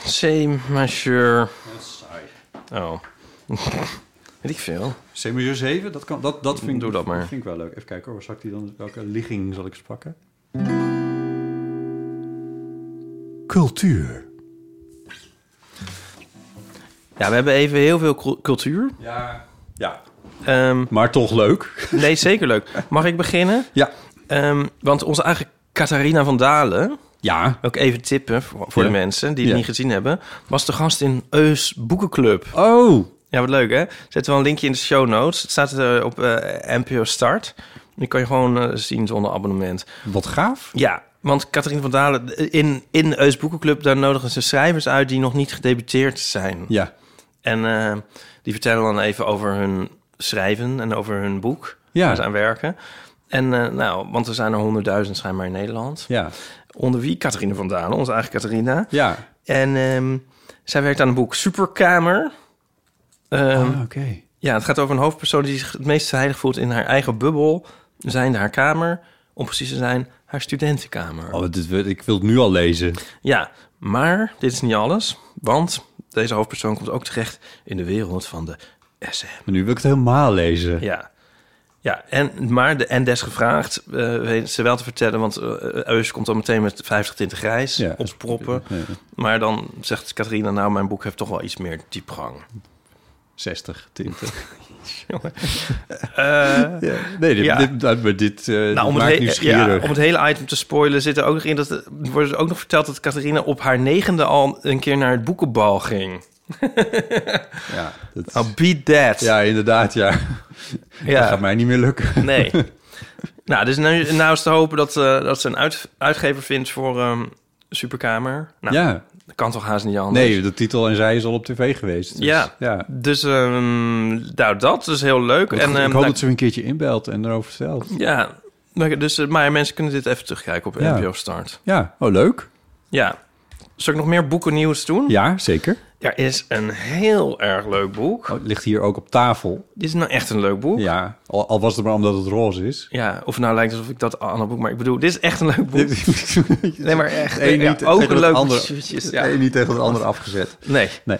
Speaker 3: C majeur.
Speaker 2: Dat is saai.
Speaker 3: Oh. Weet ik veel.
Speaker 2: C majeur 7, dat, kan, dat, dat, vind, ik-
Speaker 3: Doe dat maar.
Speaker 2: vind ik wel leuk. Even kijken hoor, waar zal ik die dan, welke ligging zal ik eens pakken? Cultuur.
Speaker 3: Ja, we hebben even heel veel cru- cultuur.
Speaker 2: Ja. Ja,
Speaker 3: Ehm,
Speaker 2: maar toch leuk.
Speaker 3: nee, zeker leuk. Mag ik beginnen?
Speaker 2: Ja.
Speaker 3: Ehm, want onze eigen Catharina van Dalen,
Speaker 2: Ja.
Speaker 3: ook even tippen voor, voor
Speaker 2: Ja.
Speaker 3: de mensen die het
Speaker 2: Ja.
Speaker 3: niet gezien hebben, was de gast in Eus Boekenclub.
Speaker 2: Oh,
Speaker 3: Ja, wat leuk hè? Zetten we een linkje in de show notes. Het staat eh, op eh, NPO Start. Die kan je gewoon eh, zien zonder abonnement.
Speaker 2: wat gaaf.
Speaker 3: Ja, want Catharine van Dalen, eh, in, in Eus Boekenclub, daar nodigen ze schrijvers uit die nog niet gedebuteerd zijn.
Speaker 2: Ja.
Speaker 3: En eh, die vertellen dan even over hun schrijven en over hun boek.
Speaker 2: Ja.
Speaker 3: Waar ze aan werken. En eh, nou, want er zijn er honderdduizend schijnbaar in Nederland.
Speaker 2: Ja.
Speaker 3: Onder wie Catharine van Dalen, onze eigen Catharina.
Speaker 2: Ja.
Speaker 3: En ehm, zij werkt aan een boek Superkamer. Ehm,
Speaker 2: Ah, Oké.
Speaker 3: ja, het gaat over een hoofdpersoon die zich het meest heilig voelt in haar eigen bubbel, zijnde haar kamer, om precies te zijn, haar studentenkamer.
Speaker 2: Oh, dit, wil- ik wil het nu al lezen.
Speaker 3: Ja, maar dit is niet alles, want deze hoofdpersoon komt ook terecht in de wereld van de SM.
Speaker 2: Maar nu wil ik het helemaal lezen.
Speaker 3: Ja. Ja, en, maar de, en desgevraagd eh weet ze wel te vertellen, want eh, Eus komt dan meteen met 50 tinten grijs
Speaker 2: Ja.
Speaker 3: opproppen.
Speaker 2: Ja.
Speaker 3: Maar dan zegt Catharina, nou, mijn boek heeft toch wel iets meer diepgang.
Speaker 2: 60 tinten.
Speaker 3: Eh,
Speaker 2: Ja. Nee, dit,
Speaker 3: Ja.
Speaker 2: dit, dat- maar dit eh, dit
Speaker 3: Nou, om,
Speaker 2: maakt
Speaker 3: het he- ja,
Speaker 2: nieuwsgierig.
Speaker 3: om het hele item te spoilen, zit er ook nog in dat er wordt dus ook nog verteld dat Catharina op haar negende al een keer naar het boekenbal ging.
Speaker 2: Ja, dat-
Speaker 3: Oh, beat that.
Speaker 2: ja, inderdaad, ja.
Speaker 3: Ja.
Speaker 2: Dat gaat mij niet meer lukken.
Speaker 3: Nee. nou, dus nu, nou is te hopen dat, eh, dat ze een uit- uitgever vindt voor ehm, Superkamer. Nou,
Speaker 2: ja,
Speaker 3: dat kan toch haast niet anders.
Speaker 2: nee, de titel en zij is al op tv geweest. dus,
Speaker 3: Ja.
Speaker 2: ja.
Speaker 3: Dus ehm, nou, dat is heel leuk.
Speaker 2: ik
Speaker 3: ehm,
Speaker 2: hoop
Speaker 3: nou,
Speaker 2: dat ze me een keertje inbelt en erover vertelt.
Speaker 3: Ja, maar- dus, eh, maar mensen kunnen dit even terugkijken op
Speaker 2: Ja.
Speaker 3: NPO Start.
Speaker 2: Ja, oh leuk.
Speaker 3: Ja. Zal ik nog meer boekennieuws doen?
Speaker 2: Ja, zeker.
Speaker 3: Er is een heel erg leuk boek.
Speaker 2: Oh, het ligt hier ook op tafel.
Speaker 3: Dit is nou echt een leuk boek. Ja.
Speaker 2: Ja, al, al was het maar omdat het roze is.
Speaker 3: of nou lijkt alsof ik dat aan een boek... Maar ik bedoel, dit is echt een leuk boek.
Speaker 2: nee,
Speaker 3: Nee, maar echt. eh,
Speaker 2: Eén
Speaker 3: ja,
Speaker 2: niet
Speaker 3: ook
Speaker 2: tegen
Speaker 3: een
Speaker 2: het
Speaker 3: leuk
Speaker 2: andere,
Speaker 3: boekje.
Speaker 2: het
Speaker 3: Ja.
Speaker 2: een niet tegen het andere afgezet.
Speaker 3: Nee.
Speaker 2: Nee.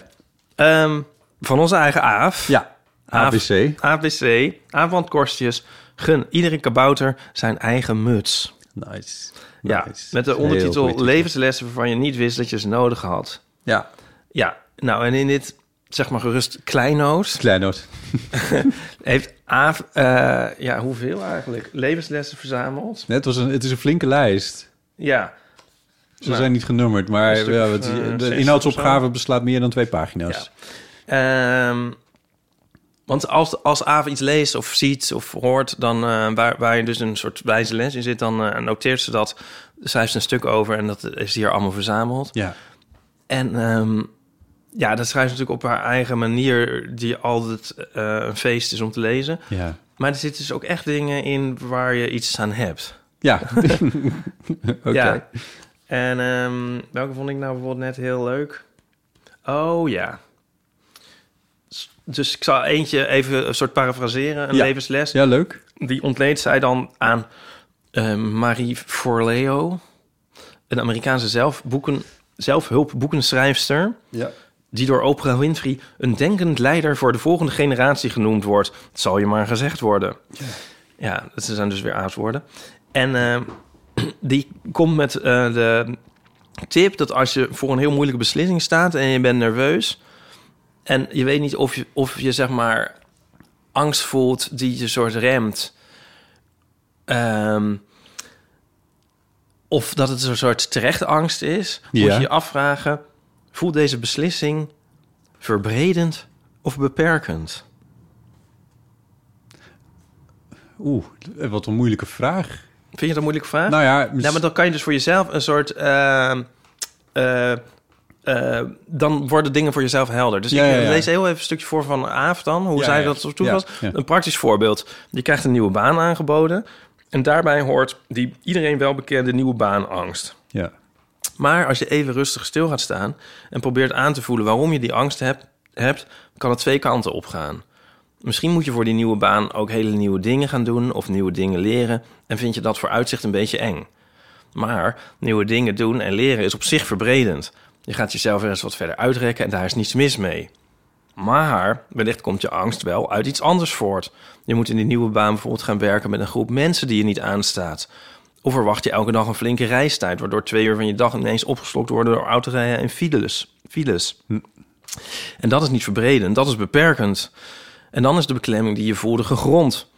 Speaker 3: Ehm, van onze eigen Aaf.
Speaker 2: Ja,
Speaker 3: Aaf.
Speaker 2: ABC.
Speaker 3: ABC. Aaf Korstjes. Gun iedere kabouter zijn eigen muts.
Speaker 2: Nice.
Speaker 3: Ja,
Speaker 2: Nice.
Speaker 3: met de
Speaker 2: Heel goeie
Speaker 3: ondertitel
Speaker 2: titel.
Speaker 3: Levenslessen waarvan je niet wist dat je ze nodig had.
Speaker 2: Ja,
Speaker 3: Ja, nou en in dit, zeg maar gerust, kleinoos...
Speaker 2: kleinoot.
Speaker 3: heeft Aaf, eh, ja, hoeveel eigenlijk? Levenslessen verzameld.
Speaker 2: Net was een, het is een flinke lijst.
Speaker 3: Ja,
Speaker 2: Ze
Speaker 3: Nou,
Speaker 2: zijn niet genummerd, maar
Speaker 3: een stuk
Speaker 2: ja,
Speaker 3: of,
Speaker 2: het-
Speaker 3: eh,
Speaker 2: de
Speaker 3: zes
Speaker 2: inhoudsopgave beslaat meer dan twee pagina's.
Speaker 3: Ehm, want als, als Aaf iets leest of ziet of hoort, dan, eh, waar, waar je dus een soort wijze les in zit, dan eh, noteert ze dat. Schrijft ze een stuk over en dat is hier allemaal verzameld.
Speaker 2: Ja.
Speaker 3: En ehm, ja, dat schrijft ze natuurlijk op haar eigen manier, die altijd eh, een feest is om te lezen.
Speaker 2: Ja.
Speaker 3: Maar er zitten dus ook echt dingen in waar je iets aan hebt.
Speaker 2: Ja. Oké.
Speaker 3: Ja. En ehm, welke vond ik nou bijvoorbeeld net heel leuk? Oh ja. S- Dus ik zal eentje even een soort parafraseren, een
Speaker 2: Ja.
Speaker 3: levensles.
Speaker 2: Ja, leuk.
Speaker 3: Die ontleent zij dan aan eh, Marie Forleo, een Amerikaanse zelfboeken, zelfhulpboekenschrijfster
Speaker 2: Ja.
Speaker 3: die door Oprah Winfrey een denkend leider voor de volgende generatie genoemd wordt. Het zal je maar gezegd worden. Ja, dat zijn dus weer aaswoorden. En eh, die komt met eh, de tip dat als je voor een heel moeilijke beslissing staat en je bent nerveus en je weet niet of je, of je zeg maar angst voelt die je soort remt. ehm, of dat het een soort terechte angst is, moet
Speaker 2: Ja.
Speaker 3: je je afvragen: voelt deze beslissing verbredend of beperkend?
Speaker 2: Oeh, wat een moeilijke vraag.
Speaker 3: Vind je dat een moeilijke vraag?
Speaker 2: Nou ja, mis-
Speaker 3: Nou, maar dan kan je dus voor jezelf een soort... eh, eh, eh, dan worden dingen voor jezelf helder. Dus
Speaker 2: Ja,
Speaker 3: ik
Speaker 2: ja, ja.
Speaker 3: lees heel even een stukje voor van Aaf dan, hoe
Speaker 2: Ja,
Speaker 3: zij
Speaker 2: ja.
Speaker 3: dat op toe
Speaker 2: Ja,
Speaker 3: was.
Speaker 2: ja.
Speaker 3: Een praktisch voorbeeld. Je krijgt een nieuwe baan aangeboden. En daarbij hoort die iedereen wel bekende nieuwe baanangst.
Speaker 2: ja.
Speaker 3: Maar als je even rustig stil gaat staan en probeert aan te voelen waarom je die angst hebt, hebt kan het twee kanten opgaan. Misschien moet je voor die nieuwe baan ook hele nieuwe dingen gaan doen of nieuwe dingen leren en vind je dat vooruitzicht een beetje eng. Maar nieuwe dingen doen en leren is op zich verbredend. Je gaat jezelf er eens wat verder uitrekken en daar is niets mis mee. Maar wellicht komt je angst wel uit iets anders voort. Je moet in die nieuwe baan bijvoorbeeld gaan werken met een groep mensen die je niet aanstaat. Of verwacht je elke dag een flinke reistijd, waardoor twee uur van je dag ineens opgeslokt worden door autorijden en files. files. En dat is niet verbredend, dat is beperkend. En dan is de beklemming die je voelde gegrond.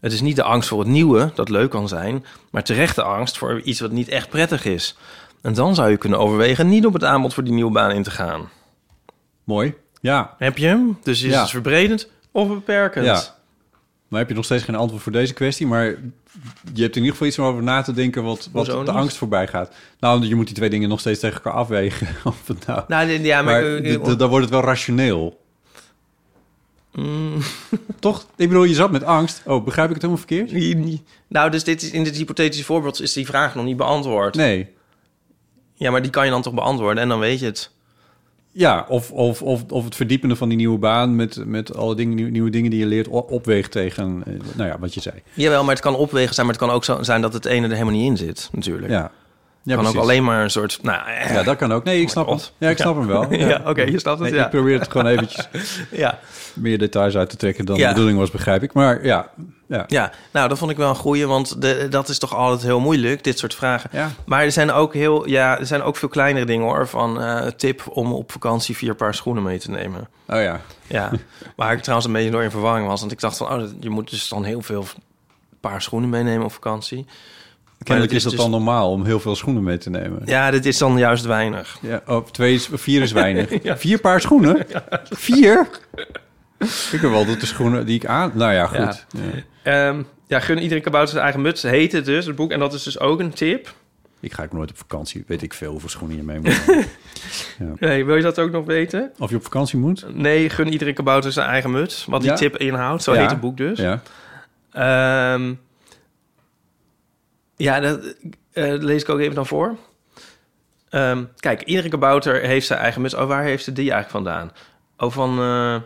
Speaker 3: Het is niet de angst voor het nieuwe, dat leuk kan zijn, maar terechte angst voor iets wat niet echt prettig is. En dan zou je kunnen overwegen niet op het aanbod voor die nieuwe baan in te gaan.
Speaker 2: Mooi. Ja.
Speaker 3: Heb je hem? Dus is
Speaker 2: Ja.
Speaker 3: het verbredend of beperkend?
Speaker 2: ja. Maar heb je nog steeds geen antwoord voor deze kwestie? Maar je hebt in ieder geval iets om over na te denken wat, wat
Speaker 3: Hoezo
Speaker 2: de
Speaker 3: niet?
Speaker 2: angst voorbij gaat. Nou, je moet die twee dingen nog steeds tegen elkaar afwegen. Of het nou,
Speaker 3: Nou, nee, ja, maar,
Speaker 2: maar
Speaker 3: eh,
Speaker 2: d- d- dan wordt het wel rationeel.
Speaker 3: Mm.
Speaker 2: Toch? Ik bedoel, je zat met angst. Oh, begrijp ik het helemaal verkeerd?
Speaker 3: Nou, dus dit is, in dit hypothetische voorbeeld is die vraag nog niet beantwoord.
Speaker 2: Nee.
Speaker 3: Ja, maar die kan je dan toch beantwoorden en dan weet je het.
Speaker 2: Ja, of, of, of, of het verdiepende van die nieuwe baan met, met alle dingen, nieuwe, nieuwe dingen die je leert o- opweegt tegen, eh, nou ja, wat je zei.
Speaker 3: Jawel, maar het kan opwegen zijn, maar het kan ook zo zijn dat het ene er helemaal niet in zit, natuurlijk.
Speaker 2: Ja. Ja,
Speaker 3: kan
Speaker 2: precies.
Speaker 3: ook alleen maar een soort. Nou, eh,
Speaker 2: Ja, dat kan ook. Nee, ik snap
Speaker 3: God.
Speaker 2: het. Ja, ik snap hem wel.
Speaker 3: Ja, oké, je snapt het.
Speaker 2: Nee,
Speaker 3: ja.
Speaker 2: Ik probeer het gewoon eventjes
Speaker 3: ja.
Speaker 2: meer details uit te trekken dan
Speaker 3: Ja.
Speaker 2: de bedoeling was, begrijp ik. Maar ja, ja.
Speaker 3: ja, nou, dat vond ik wel een goeie, want de, dat is toch altijd heel moeilijk, dit soort vragen.
Speaker 2: Ja.
Speaker 3: Maar er zijn ook heel, ja, er zijn ook veel kleinere dingen hoor. Van eh, tip om op vakantie vier paar schoenen mee te nemen.
Speaker 2: Oh ja.
Speaker 3: Ja, waar ik trouwens een beetje door in verwarring was. Want ik dacht van, oh, dat- je moet dus dan heel veel paar schoenen meenemen op vakantie.
Speaker 2: Kennelijk
Speaker 3: dat
Speaker 2: is
Speaker 3: is
Speaker 2: dat
Speaker 3: dus-
Speaker 2: dan normaal om heel veel schoenen mee te nemen.
Speaker 3: Ja, dit is dan juist weinig.
Speaker 2: Ja, oh, twee is, vier is weinig. Vier paar schoenen? Vier? Ik heb wel dat de schoenen die ik aan... Nou ja, goed. Ja.
Speaker 3: Ehm, ja, gun iedere kabouter zijn eigen muts. Heet het dus, het boek. En dat is dus ook een tip.
Speaker 2: Ik ga ook nooit op vakantie. Weet ik veel hoeveel schoenen je mee moet nemen.
Speaker 3: Nee, wil je dat ook nog weten?
Speaker 2: Of je op vakantie moet?
Speaker 3: Nee, gun iedere kabouter zijn eigen muts. Wat die
Speaker 2: Ja.
Speaker 3: tip inhoudt. Zo
Speaker 2: Ja.
Speaker 3: heet het boek dus.
Speaker 2: Ja.
Speaker 3: Ehm, ja, dat, eh, dat lees ik ook even dan voor. Ehm, kijk, iedere kabouter heeft zijn eigen muts. Oh, waar heeft ze die eigenlijk vandaan? Oh, van... eh,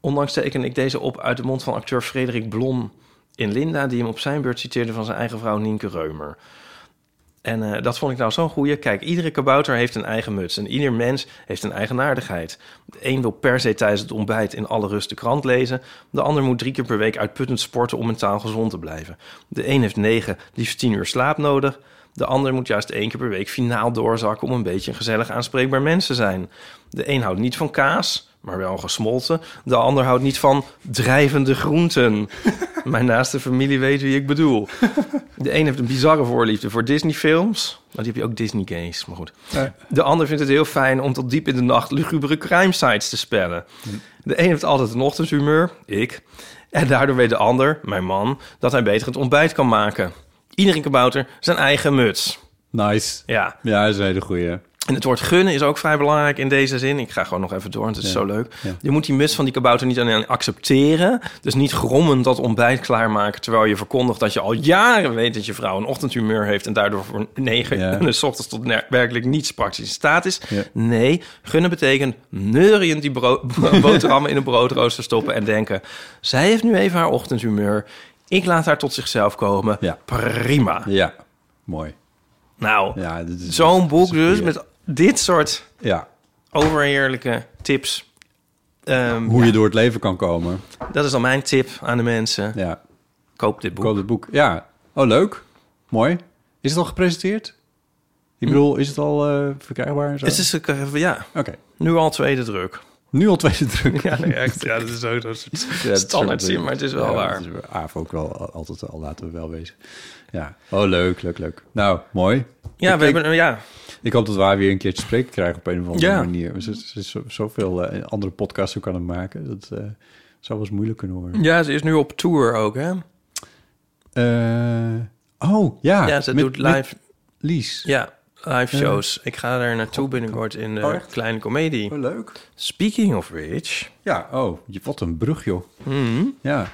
Speaker 3: onlangs teken ik deze op uit de mond van acteur Frederik Blom in Linda... die hem op zijn beurt citeerde van zijn eigen vrouw Nienke Reumer. En eh, dat vond ik nou zo'n goeie. Kijk, iedere kabouter heeft een eigen muts en ieder mens heeft een eigenaardigheid. De een wil per se tijdens het ontbijt in alle rust de krant lezen. De ander moet drie keer per week uitputtend sporten om mentaal gezond te blijven. De een heeft negen, liefst tien uur slaap nodig. De ander moet juist één keer per week finaal doorzakken om een beetje een gezellig aanspreekbaar mens te zijn. De een houdt niet van kaas, maar wel gesmolten. De ander houdt niet van drijvende groenten. Mijn naaste familie weet wie ik bedoel. De een heeft een bizarre voorliefde voor Disney-films. Maar die heb je ook Disney-games, maar goed. De ander vindt het heel fijn om tot diep in de nacht lugubere crime sites te spellen. De een heeft altijd een ochtendhumeur, ik. En daardoor weet de ander, mijn man, dat hij beter het ontbijt kan maken. Iedereen kabouter zijn eigen muts.
Speaker 2: Nice.
Speaker 3: Ja,
Speaker 2: Ja, dat is een hele goeie.
Speaker 3: en het woord gunnen is ook vrij belangrijk in deze zin. Ik ga gewoon nog even door, want het is zo leuk. Je moet die muts van die kabouter niet alleen accepteren. Dus niet grommend dat ontbijt klaarmaken... terwijl je verkondigt dat je al jaren weet dat je vrouw een ochtendhumeur heeft... en daardoor voor negen
Speaker 2: Ja.
Speaker 3: en s ochtends tot ner- werkelijk niets praktisch in staat is.
Speaker 2: Ja.
Speaker 3: Nee, gunnen betekent neuriënd die bro- boterhammen in een broodrooster stoppen... en denken, zij heeft nu even haar ochtendhumeur... ik laat haar tot zichzelf komen.
Speaker 2: Ja.
Speaker 3: Prima.
Speaker 2: Ja, mooi.
Speaker 3: Nou,
Speaker 2: Ja, dit is-
Speaker 3: zo'n
Speaker 2: dit
Speaker 3: boek
Speaker 2: is een
Speaker 3: dus
Speaker 2: goeie.
Speaker 3: met dit soort
Speaker 2: Ja,
Speaker 3: overheerlijke tips. Ehm,
Speaker 2: hoe je door het leven kan komen.
Speaker 3: Dat is dan mijn tip aan de mensen.
Speaker 2: Ja,
Speaker 3: Koop dit boek.
Speaker 2: koop het boek. Ja, oh leuk. Mooi. Is het al gepresenteerd? Ik bedoel, is het al eh, verkrijgbaar? en Zo?
Speaker 3: Het is ook, eh, ja,
Speaker 2: Oké,
Speaker 3: nu al tweede druk.
Speaker 2: nu al tweede druk.
Speaker 3: Ja, nee, echt. Ja, dat is ook dat soort
Speaker 2: Ja, dat
Speaker 3: standaard
Speaker 2: soort
Speaker 3: zin, maar het is wel
Speaker 2: dingen. Ja,
Speaker 3: waar.
Speaker 2: dat is AAF ook wel al- altijd al, laten we wel wezen. Ja, oh leuk, leuk, leuk. Nou, mooi.
Speaker 3: Ja,
Speaker 2: Ik-
Speaker 3: we
Speaker 2: ik-
Speaker 3: hebben, ja,
Speaker 2: Ik hoop dat we haar weer een keertje spreken krijgen op een of andere
Speaker 3: Ja.
Speaker 2: manier. Er is, er is zo- zoveel eh, andere podcasts ook aan het maken. Dat eh, zou wel eens moeilijk kunnen worden.
Speaker 3: ja, ze is nu op tour ook, hè?
Speaker 2: Eh, oh, ja.
Speaker 3: Ja, ze
Speaker 2: met-
Speaker 3: doet
Speaker 2: met
Speaker 3: live-
Speaker 2: Lies.
Speaker 3: Ja, live
Speaker 2: Eh,
Speaker 3: shows. ik ga er naartoe binnenkort in de
Speaker 2: Oh, echt?
Speaker 3: kleine comedie.
Speaker 2: Oh, leuk.
Speaker 3: Speaking of which.
Speaker 2: Ja, oh, je- wat een brug, joh.
Speaker 3: Mhm.
Speaker 2: Ja.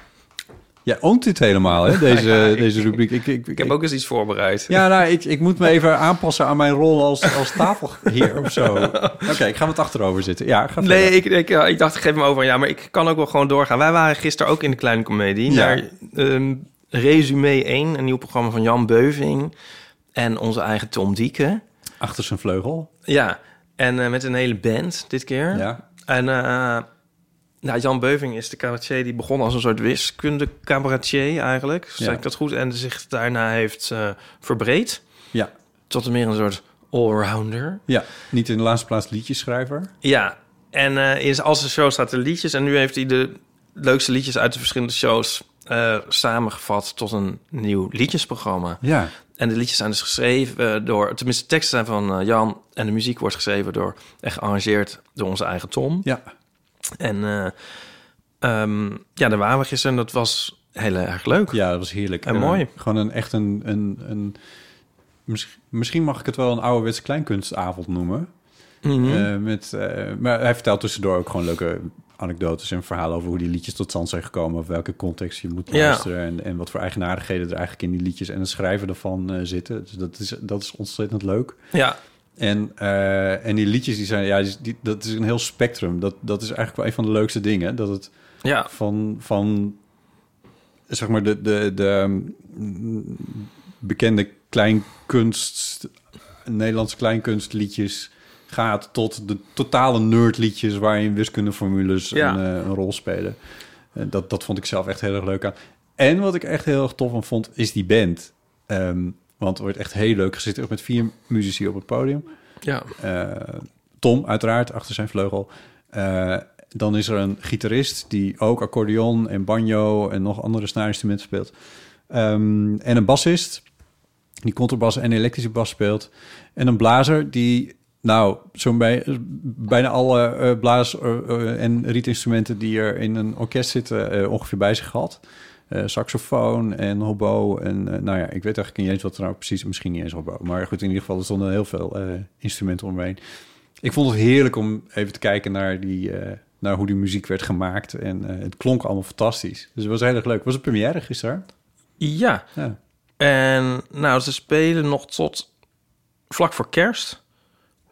Speaker 2: Jij oont dit helemaal, hè, deze,
Speaker 3: Ja, ik-
Speaker 2: deze rubriek. Ik, ik,
Speaker 3: Ik heb ook eens iets voorbereid.
Speaker 2: Ja, nou, ik, ik moet me even aanpassen aan mijn rol als, als tafelheer of zo. Oké, ik ga het achterover zitten. Ja, ga verder.
Speaker 3: Nee, ik, ik, eh, ik dacht, geef hem over. Ja, maar ik kan ook wel gewoon doorgaan. Wij waren gisteren ook in de Kleine Comedie.
Speaker 2: Ja.
Speaker 3: Naar ehm Resume 1, een nieuw programma van Jan Beuving. En onze eigen Tom Dieke.
Speaker 2: Achter zijn vleugel.
Speaker 3: Ja, en eh, met een hele band dit keer.
Speaker 2: Ja.
Speaker 3: En eh, nou, Jan Beuving is de cabaretier die begon als een soort wiskunde-cabaretier eigenlijk. Zeg
Speaker 2: Ja.
Speaker 3: ik dat goed? En zich daarna heeft eh, verbreed.
Speaker 2: Ja.
Speaker 3: Tot meer een soort allrounder.
Speaker 2: Ja, niet in de laatste plaats liedjeschrijver.
Speaker 3: Ja, en eh, in al zijn shows staat er liedjes. En nu heeft hij de leukste liedjes uit de verschillende shows eh, samengevat tot een nieuw liedjesprogramma.
Speaker 2: Ja.
Speaker 3: En de liedjes zijn dus geschreven eh, door, tenminste, de teksten zijn van eh, Jan. En de muziek wordt geschreven door en gearrangeerd door onze eigen Tom.
Speaker 2: Ja.
Speaker 3: En eh, ehm, ja, daar waren we gisteren. Dat was heel erg leuk.
Speaker 2: Ja, dat was heerlijk.
Speaker 3: En
Speaker 2: Eh,
Speaker 3: mooi.
Speaker 2: Gewoon een echt een... een, een misschien, misschien mag ik het wel een ouderwets kleinkunstavond noemen.
Speaker 3: Mhm.
Speaker 2: Eh, met, eh, maar hij vertelt tussendoor ook gewoon leuke anekdotes en verhalen over hoe die liedjes tot stand zijn gekomen. Of welke context je moet
Speaker 3: Ja.
Speaker 2: luisteren. En, en wat voor eigenaardigheden er eigenlijk in die liedjes en het schrijven ervan eh, zitten. Dus dat is, dat is ontzettend leuk.
Speaker 3: Ja.
Speaker 2: En, eh, en die liedjes die zijn, ja, die- die, dat is een heel spectrum. Dat, dat is eigenlijk wel een van de leukste dingen. Dat het
Speaker 3: Ja.
Speaker 2: van, van zeg maar, de, de, de mm, bekende kleinkunst, Nederlandse kleinkunstliedjes gaat tot de totale nerdliedjes waarin wiskundeformules
Speaker 3: Ja.
Speaker 2: een, eh, een rol spelen. En dat, dat vond ik zelf echt heel erg leuk aan. En wat ik echt heel erg tof aan vond, is die band. Ehm, want er wordt echt heel leuk gezeten, ook met vier muzici op het podium.
Speaker 3: Ja.
Speaker 2: Eh, Tom uiteraard, achter zijn vleugel. Eh, dan is er een gitarist die ook accordeon en banjo en nog andere snaarinstrumenten speelt. Ehm, en een bassist die contrabas en elektrische bas speelt. En een blazer die, nou, zo'n bij, bijna alle eh blaas- eh, eh, en rietinstrumenten die er in een orkest zitten eh, ongeveer bij zich had. Eh, saxofoon en hobo en eh, nou ja, ik weet eigenlijk niet eens wat er nou precies, misschien niet eens hobo. Maar goed, in ieder geval, er stonden heel veel eh, instrumenten omheen. Ik vond het heerlijk om even te kijken naar, die, eh, naar hoe die muziek werd gemaakt. En eh, het klonk allemaal fantastisch. Dus het was heel erg leuk. Was het première gisteren?
Speaker 3: Ja.
Speaker 2: Ja.
Speaker 3: En nou, ze spelen nog tot vlak voor kerst.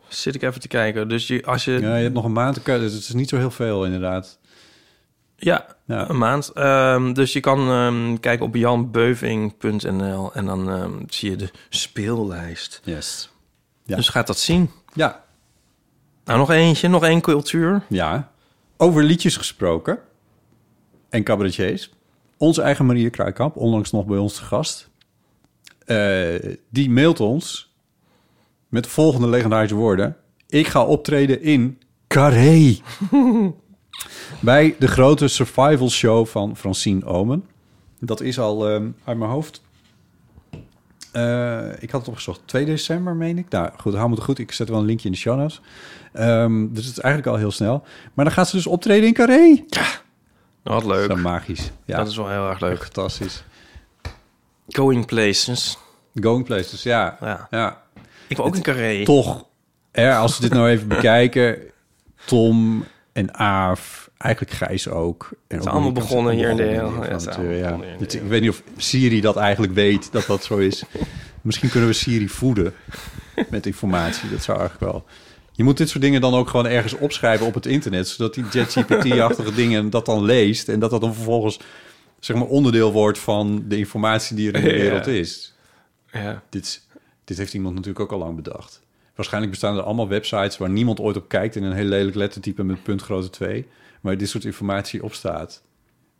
Speaker 3: Zit ik even te kijken. Dus je, als je...
Speaker 2: Ja, je hebt nog een maand te keuze. Dus het is niet zo heel veel inderdaad.
Speaker 3: Ja,
Speaker 2: Ja.
Speaker 3: een maand. Ehm, dus je kan ehm, kijken op janbeuving.nl en dan ehm, zie je de speellijst.
Speaker 2: Yes. Ja.
Speaker 3: Dus gaat dat zien.
Speaker 2: Ja.
Speaker 3: Nou, nog eentje, nog één cultuur.
Speaker 2: Ja. Over liedjes gesproken. En cabaretiers. Onze eigen Maria Kruikamp, onlangs nog bij ons te gast. eh, die mailt ons met de volgende legendarische woorden. Ik ga optreden in Carré. bij de grote survival show van Francine Omen. Dat is al ehm, uit mijn hoofd. Eh, ik had het opgezocht. 2 december, meen ik. Nou, goed, hou me goed. Ik zet wel een linkje in de show notes. Ehm, dus het is eigenlijk al heel snel. Maar dan gaat ze dus optreden in Carré.
Speaker 3: Wat leuk.
Speaker 2: Dat is magisch. Ja,
Speaker 3: Dat is wel heel erg leuk.
Speaker 2: fantastisch.
Speaker 3: Going places.
Speaker 2: Going places, ja.
Speaker 3: Ja.
Speaker 2: ja.
Speaker 3: Ik wil ook een carré.
Speaker 2: Toch, hè, als we dit nou even bekijken... Tom en Aaf, eigenlijk Gijs ook. En ook
Speaker 3: allemaal
Speaker 2: Monica,
Speaker 3: begonnen hier in de
Speaker 2: allemaal
Speaker 3: heel-
Speaker 2: van
Speaker 3: ja, het is
Speaker 2: amateur,
Speaker 3: allemaal
Speaker 2: ja.
Speaker 3: begonnen hier in de
Speaker 2: Dit- Ik weet niet of Siri dat eigenlijk weet, dat dat zo is. Misschien kunnen we Siri voeden met informatie. Dat zou eigenlijk wel... Je moet dit soort dingen dan ook gewoon ergens opschrijven op het internet... zodat die ChatGPT-achtige dingen dat dan leest... en dat dat dan vervolgens zeg maar, onderdeel wordt van de informatie die er in de
Speaker 3: Ja.
Speaker 2: wereld is.
Speaker 3: Ja.
Speaker 2: Dit, is- dit heeft iemand natuurlijk ook al lang bedacht. Waarschijnlijk bestaan er allemaal websites waar niemand ooit op kijkt... in een heel lelijk lettertype met puntgrote 2... waar dit soort informatie op staat.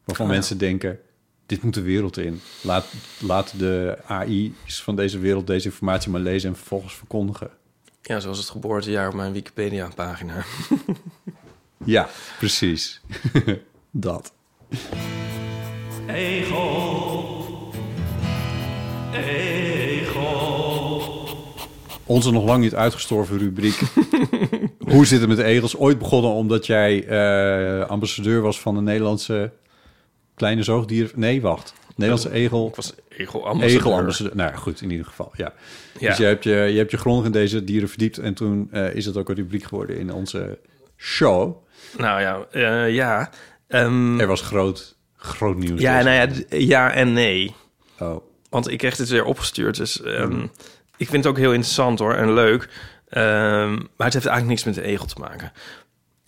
Speaker 2: Waarvan mensen denken, dit moet de wereld in. Laat, laat de AI's van deze wereld deze informatie maar lezen... en vervolgens verkondigen.
Speaker 3: ja, zoals het geboortejaar op mijn Wikipedia-pagina.
Speaker 2: Ja, precies. Dat. Onze nog lang niet uitgestorven rubriek. Hoe zit het met de egels? Ooit begonnen omdat jij eh, ambassadeur was van de Nederlandse kleine zoogdier. Nee, wacht. Nederlandse egel.
Speaker 3: Ik was egelambassadeur.
Speaker 2: Egelambassadeur. Nou ja, goed, in ieder geval. Ja.
Speaker 3: Ja.
Speaker 2: Dus je hebt je, je hebt je grondig in deze dieren verdiept. En toen eh, is het ook een rubriek geworden in onze show.
Speaker 3: Nou ja, eh, ja. Ehm,
Speaker 2: Er was groot, groot nieuws.
Speaker 3: ja,
Speaker 2: deze
Speaker 3: nou ja, d- ja en nee.
Speaker 2: week. Oh.
Speaker 3: Want ik kreeg dit weer opgestuurd. Dus ehm,
Speaker 2: Mhm.
Speaker 3: ik vind het ook heel interessant hoor en leuk. Ehm, maar het heeft eigenlijk niks met de egel te maken.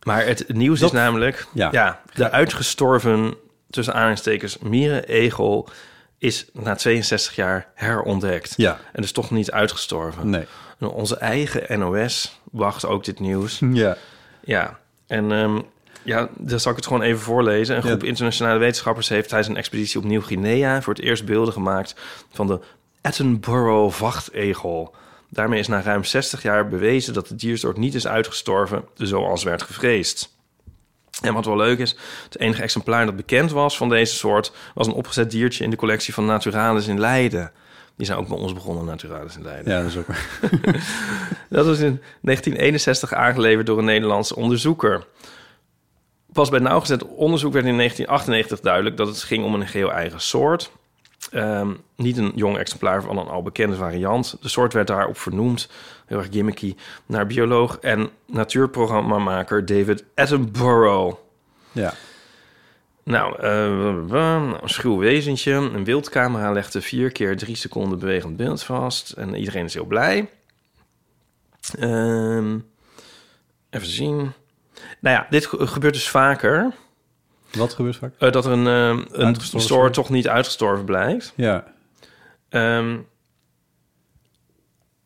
Speaker 3: Maar het nieuws is namelijk...
Speaker 2: ja.
Speaker 3: Ja. de uitgestorven, tussen aanhalingstekens, mierenegel... is na 62 jaar herontdekt.
Speaker 2: Ja.
Speaker 3: En is toch niet uitgestorven.
Speaker 2: Nee.
Speaker 3: En onze eigen NOS wacht ook dit nieuws.
Speaker 2: Ja.
Speaker 3: Ja, en ehm, ja, dan zal ik het gewoon even voorlezen. Een groep
Speaker 2: Ja.
Speaker 3: internationale wetenschappers heeft tijdens een expeditie op Nieuw-Guinea voor het eerst beelden gemaakt van de Attenborough-vachtegel. Daarmee is na ruim 60 jaar bewezen dat de diersoort niet is uitgestorven, zoals werd gevreesd. En wat wel leuk is, het enige exemplaar dat bekend was van deze soort was een opgezet diertje in de collectie van Naturalis in Leiden. Die zijn ook bij ons begonnen, Naturalis in Leiden.
Speaker 2: ja, dat is ook...
Speaker 3: Dat was in 1961 aangeleverd door een Nederlandse onderzoeker. Pas bij nauwgezet onderzoek werd in 1998 duidelijk dat het ging om een geheel eigen soort. Ehm, niet een jong exemplaar van een al bekende variant. De soort werd daarop vernoemd, heel erg gimmicky, naar bioloog en natuurprogrammamaker David Attenborough.
Speaker 2: Ja.
Speaker 3: Nou, eh, nou, een schuw wezentje. Een wildcamera legde vier keer drie seconden bewegend beeld vast. En iedereen is heel blij. Ehm, even zien. Nou ja, dit ge- gebeurt dus vaker.
Speaker 2: Wat gebeurt vaak?
Speaker 3: eh, dat er een, ehm, een
Speaker 2: Uitgestorven
Speaker 3: soort toch niet uitgestorven blijkt.
Speaker 2: Ja.
Speaker 3: Ehm,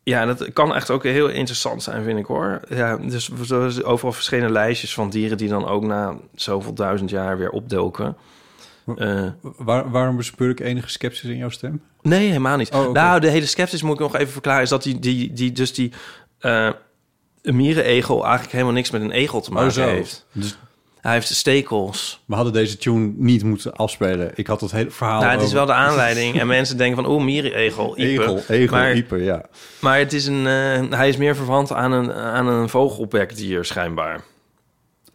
Speaker 3: ja, dat kan echt ook heel interessant zijn, vind ik hoor. Ja, dus er is overal verschillende lijstjes van dieren die dan ook na zoveel duizend jaar weer opdoken. Eh,
Speaker 2: Waar, waarom bespeur ik enige sceptisch in jouw stem?
Speaker 3: Nee, helemaal niet.
Speaker 2: Oh, oké.
Speaker 3: Nou, de hele sceptisch moet ik nog even verklaren... is dat die, die, die, dus die eh mierenegel eigenlijk helemaal niks met een egel
Speaker 2: Oh,
Speaker 3: te maken heeft.
Speaker 2: Dus
Speaker 3: Hij heeft stekels.
Speaker 2: we hadden deze tune niet moeten afspelen. Ik had dat hele verhaal
Speaker 3: nou, het is
Speaker 2: over-
Speaker 3: wel de aanleiding. en mensen denken van, oh, mierenegel, iepen.
Speaker 2: oh. Egel, egel,
Speaker 3: maar,
Speaker 2: ieper, ja.
Speaker 3: maar het is een, eh, hij is meer verwant aan een, aan een vogelbekdier, schijnbaar.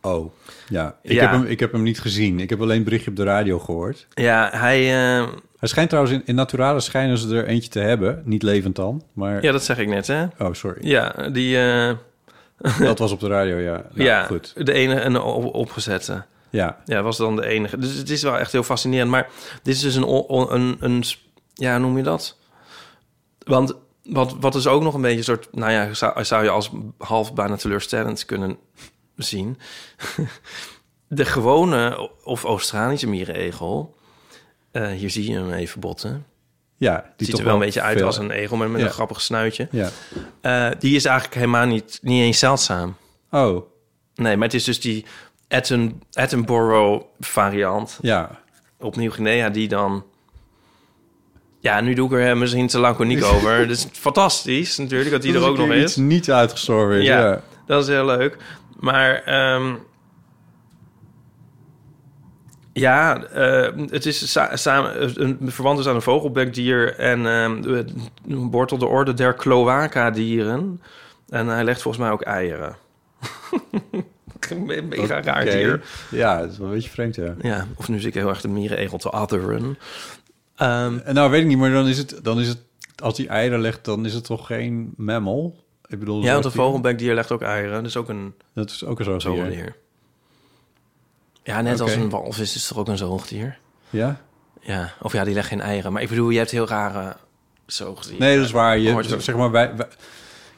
Speaker 2: Oh, ja. Ik,
Speaker 3: Ja.
Speaker 2: Heb hem, ik heb hem niet gezien. Ik heb alleen een berichtje op de radio gehoord.
Speaker 3: Ja, hij... eh,
Speaker 2: Hij schijnt trouwens, in, in Naturalis schijnen ze er eentje te hebben. Niet levend dan, maar...
Speaker 3: ja, dat zeg ik net, hè?
Speaker 2: Oh, sorry.
Speaker 3: Ja, die... eh,
Speaker 2: Dat was op de radio, ja. Nou,
Speaker 3: ja,
Speaker 2: Goed.
Speaker 3: de ene een op- opgezette.
Speaker 2: Ja,
Speaker 3: Ja, was dan de enige. Dus het is wel echt heel fascinerend. Maar dit is dus een... on- on- een, een s- ja, hoe noem je dat? Want wat, wat is ook nog een beetje een soort... Nou ja, zou, zou je als half bijna teleurstellend kunnen zien. de gewone of Australische mierenegel... eh, hier zie je hem even botten.
Speaker 2: ja. Die
Speaker 3: Ziet
Speaker 2: toch
Speaker 3: er wel een beetje uit
Speaker 2: veel-
Speaker 3: als een egel, maar met
Speaker 2: Ja.
Speaker 3: een grappig snuitje.
Speaker 2: Ja.
Speaker 3: Eh, die is eigenlijk helemaal niet, niet eens zeldzaam.
Speaker 2: Oh,
Speaker 3: Nee, maar het is dus die Atten, Attenborough-variant
Speaker 2: ja.
Speaker 3: op Nieuw-Guinea die dan... Ja, nu doe ik er eh, misschien te laconiek over. Dat is fantastisch natuurlijk, dat die
Speaker 2: Dat
Speaker 3: er ook
Speaker 2: een
Speaker 3: nog
Speaker 2: keer iets
Speaker 3: is.
Speaker 2: niet uitgestorven is, ja.
Speaker 3: Ja, dat is heel leuk. Maar ehm, ja, eh, het is sa- samen eh, een verwant is aan een vogelbekdier en ehm, de- een wortel de orde der cloaca-dieren. En hij legt volgens mij ook eieren. Mega raar
Speaker 2: Oké.
Speaker 3: dier.
Speaker 2: Ja, dat is wel een beetje vreemd, ja.
Speaker 3: Ja, of nu zit ik heel erg de mierenegel te adderen. Ehm,
Speaker 2: En Nou, weet ik niet, maar dan is het... Dan is het als die eieren legt, dan is het toch geen mammal? Ik bedoel,
Speaker 3: ja,
Speaker 2: zoals
Speaker 3: want een
Speaker 2: die-
Speaker 3: vogelbekdier legt ook eieren. Dat is ook een
Speaker 2: Dat is ook een zo'n dier.
Speaker 3: zoogdier. Ja, net als
Speaker 2: Oké.
Speaker 3: een walvis is het toch ook een zoogdier?
Speaker 2: Ja?
Speaker 3: Ja, of ja, die legt geen eieren. Maar ik bedoel, je hebt heel rare zoogdieren.
Speaker 2: Nee, dat is waar. Je,
Speaker 3: Hoort-
Speaker 2: zeg maar, wij, wij-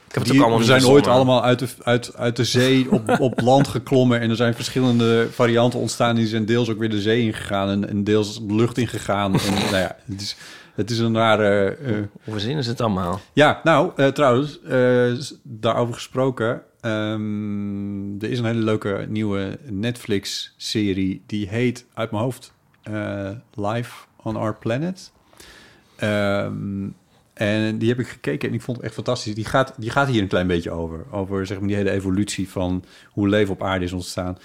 Speaker 3: Ik heb het
Speaker 2: Die-
Speaker 3: ook allemaal
Speaker 2: we
Speaker 3: niet
Speaker 2: zijn ooit
Speaker 3: verzonnen.
Speaker 2: allemaal uit de, uit, uit de zee op, op land geklommen. En er zijn verschillende varianten ontstaan. Die zijn deels ook weer de zee ingegaan en, en deels de lucht ingegaan. En, nou ja, het, is, het is een rare... eh,
Speaker 3: Hoe verzinnen ze het allemaal?
Speaker 2: ja, nou, eh, trouwens, eh, s- daarover gesproken. ehm, er is een hele leuke nieuwe Netflix-serie. Die heet, uit mijn hoofd, eh, Life on Our Planet. Ehm, en die heb ik gekeken en ik vond het echt fantastisch. Die gaat, die gaat hier een klein beetje over. Over zeg maar, die hele evolutie van hoe leven op aarde is ontstaan.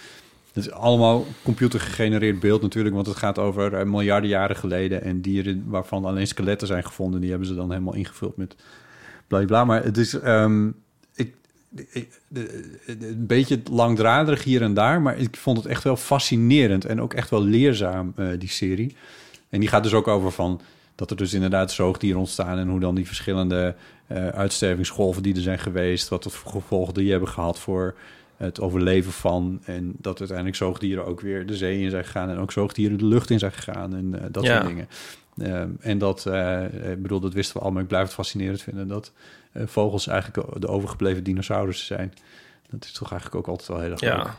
Speaker 2: Het is allemaal computergegenereerd beeld natuurlijk, want het gaat over eh, miljarden jaren geleden en dieren waarvan alleen skeletten zijn gevonden. Die hebben ze dan helemaal ingevuld met bladibla. Maar het is ehm, ik, ik- de- de- de- een beetje langdraderig hier en daar, maar ik vond het echt wel fascinerend en ook echt wel leerzaam, eh, die serie. En die gaat dus ook over van dat er dus inderdaad zoogdieren ontstaan... en hoe dan die verschillende eh, uitstervingsgolven die er zijn geweest... wat voor gevolgen die hebben gehad voor het overleven van... en dat uiteindelijk zoogdieren ook weer de zee in zijn gegaan... en ook zoogdieren de lucht in zijn gegaan en eh, dat
Speaker 3: Ja.
Speaker 2: soort dingen. Ehm, en dat, eh, ik bedoel, dat wisten we allemaal. Ik blijf het fascinerend vinden dat eh, vogels eigenlijk de overgebleven dinosaurussen zijn. Dat is toch eigenlijk ook altijd wel heel erg leuk.
Speaker 3: Ja.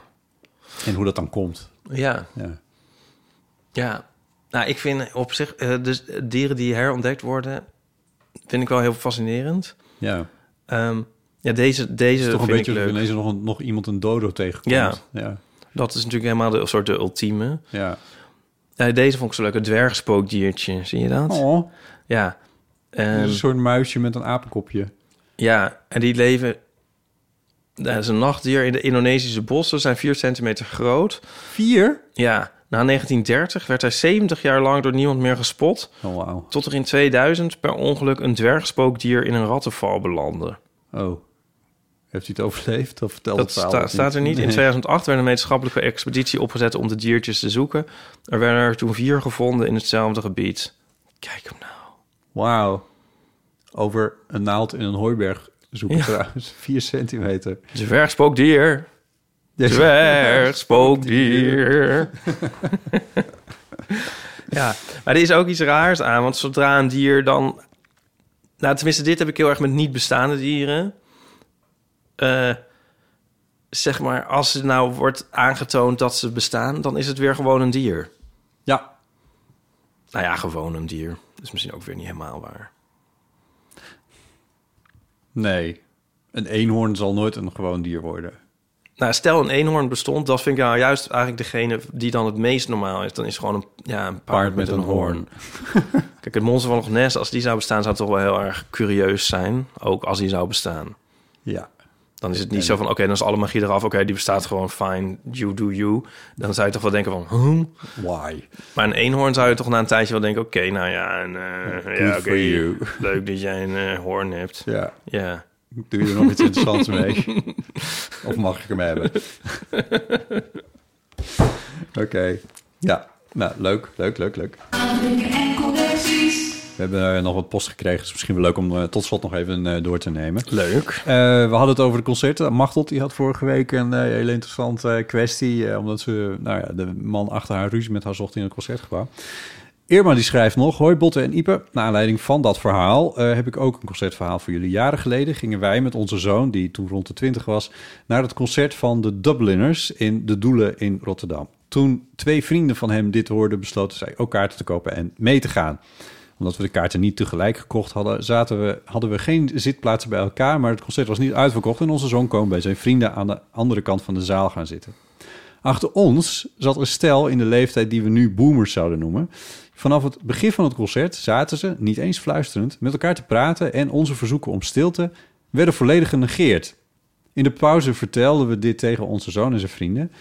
Speaker 2: En hoe dat dan komt.
Speaker 3: Ja.
Speaker 2: Ja.
Speaker 3: Ja. Nou, ik vind op zich... eh, dus dieren die herontdekt worden... vind ik wel heel fascinerend.
Speaker 2: ja.
Speaker 3: Ehm, ja, deze, deze
Speaker 2: Het is toch een
Speaker 3: vind
Speaker 2: beetje
Speaker 3: ik
Speaker 2: dat
Speaker 3: leuk.
Speaker 2: ineens nog, een- nog iemand een dodo tegenkomt.
Speaker 3: Ja.
Speaker 2: ja.
Speaker 3: Dat is natuurlijk helemaal de soort de ultieme.
Speaker 2: Ja.
Speaker 3: Eh, deze vond ik zo leuk. Het dwergspookdiertje. Zie je dat?
Speaker 2: Oh,
Speaker 3: Ja.
Speaker 2: dat is
Speaker 3: Ehm,
Speaker 2: een soort muisje met een apenkopje.
Speaker 3: Ja, en die leven... Dat is een nachtdier in de Indonesische bossen. Zijn 4 centimeter groot.
Speaker 2: Vier?
Speaker 3: Ja, na 1930 werd hij 70 jaar lang door niemand meer gespot.
Speaker 2: Oh, wauw.
Speaker 3: Tot er in 2000 per ongeluk een dwergspookdier in een rattenval belandde.
Speaker 2: Oh. Heeft hij het overleefd? Dat vertelt
Speaker 3: Dat
Speaker 2: het verhaal
Speaker 3: sta-
Speaker 2: ook
Speaker 3: staat er niet. In
Speaker 2: Oh, Nee.
Speaker 3: 2008 werd een wetenschappelijke expeditie opgezet om de diertjes te zoeken. Er werden er toen vier gevonden in hetzelfde gebied. Kijk hem nou.
Speaker 2: Wauw. Over een naald in een hooiberg zoeken
Speaker 3: Ja.
Speaker 2: trouwens. Vier centimeter.
Speaker 3: Dwergspookdier. Dwergspookdier. ja, maar er is ook iets raars aan. Want zodra een dier dan... Nou, tenminste, dit heb ik heel erg met niet bestaande dieren. Eh, zeg maar, als het nou wordt aangetoond dat ze bestaan... dan is het weer gewoon een dier.
Speaker 2: Ja.
Speaker 3: Nou ja, gewoon een dier. Dat is misschien ook weer niet helemaal waar.
Speaker 2: Nee. Een eenhoorn zal nooit een gewoon dier worden.
Speaker 3: Nou, stel een eenhoorn bestond, dat vind ik nou juist eigenlijk degene die dan het meest normaal is. Dan is het gewoon een, ja, een paard, met, een, hoorn. Kijk, het monster van Loch Ness, als die zou bestaan, zou het toch wel heel erg curieus zijn. Ook als die zou bestaan.
Speaker 2: Ja.
Speaker 3: Dan is het niet zo van, oké, dan is alle magie eraf. Oké, die bestaat gewoon, fine, you do you. Dan zou je toch wel denken van, hmm.
Speaker 2: Why?
Speaker 3: Maar een eenhoorn zou je toch na een tijdje wel denken... oké, nou ja, en, eh, ja
Speaker 2: Good
Speaker 3: oké,
Speaker 2: for you.
Speaker 3: leuk dat jij een eh, hoorn hebt. Ja.
Speaker 2: Ja. Doe je er nog iets interessants mee? Of mag ik hem hebben? Oké. Ja. Nou, leuk, leuk, leuk, leuk. We hebben eh, nog wat post gekregen. Dus misschien wel leuk om eh, tot slot nog even eh, door te nemen.
Speaker 3: Leuk.
Speaker 2: Eh, we hadden het over de concerten. Machtelt die had vorige week een eh, hele interessante eh, kwestie. eh, omdat ze, nou ja, de man achter haar ruzie met haar zocht in een concertgebouw. Irma die schrijft nog, hoi Botte en Ipe. Naar aanleiding van dat verhaal eh, heb ik ook een concertverhaal voor jullie. Jaren geleden gingen wij met onze zoon, die toen rond de 20 was, naar het concert van de Dubliners in De Doelen in Rotterdam. Toen twee vrienden van hem dit hoorden, besloten zij ook kaarten te kopen en mee te gaan omdat we de kaarten niet tegelijk gekocht hadden, zaten we, hadden we geen zitplaatsen bij elkaar. Maar het concert was niet uitverkocht en onze zoon kon bij zijn vrienden aan de andere kant van de zaal gaan zitten. Achter ons zat een stel in de leeftijd die we nu boomers zouden noemen. Vanaf het begin van het concert zaten ze, niet eens fluisterend, met elkaar te praten en onze verzoeken om stilte werden volledig genegeerd. In de pauze vertelden we dit tegen onze zoon en zijn vrienden.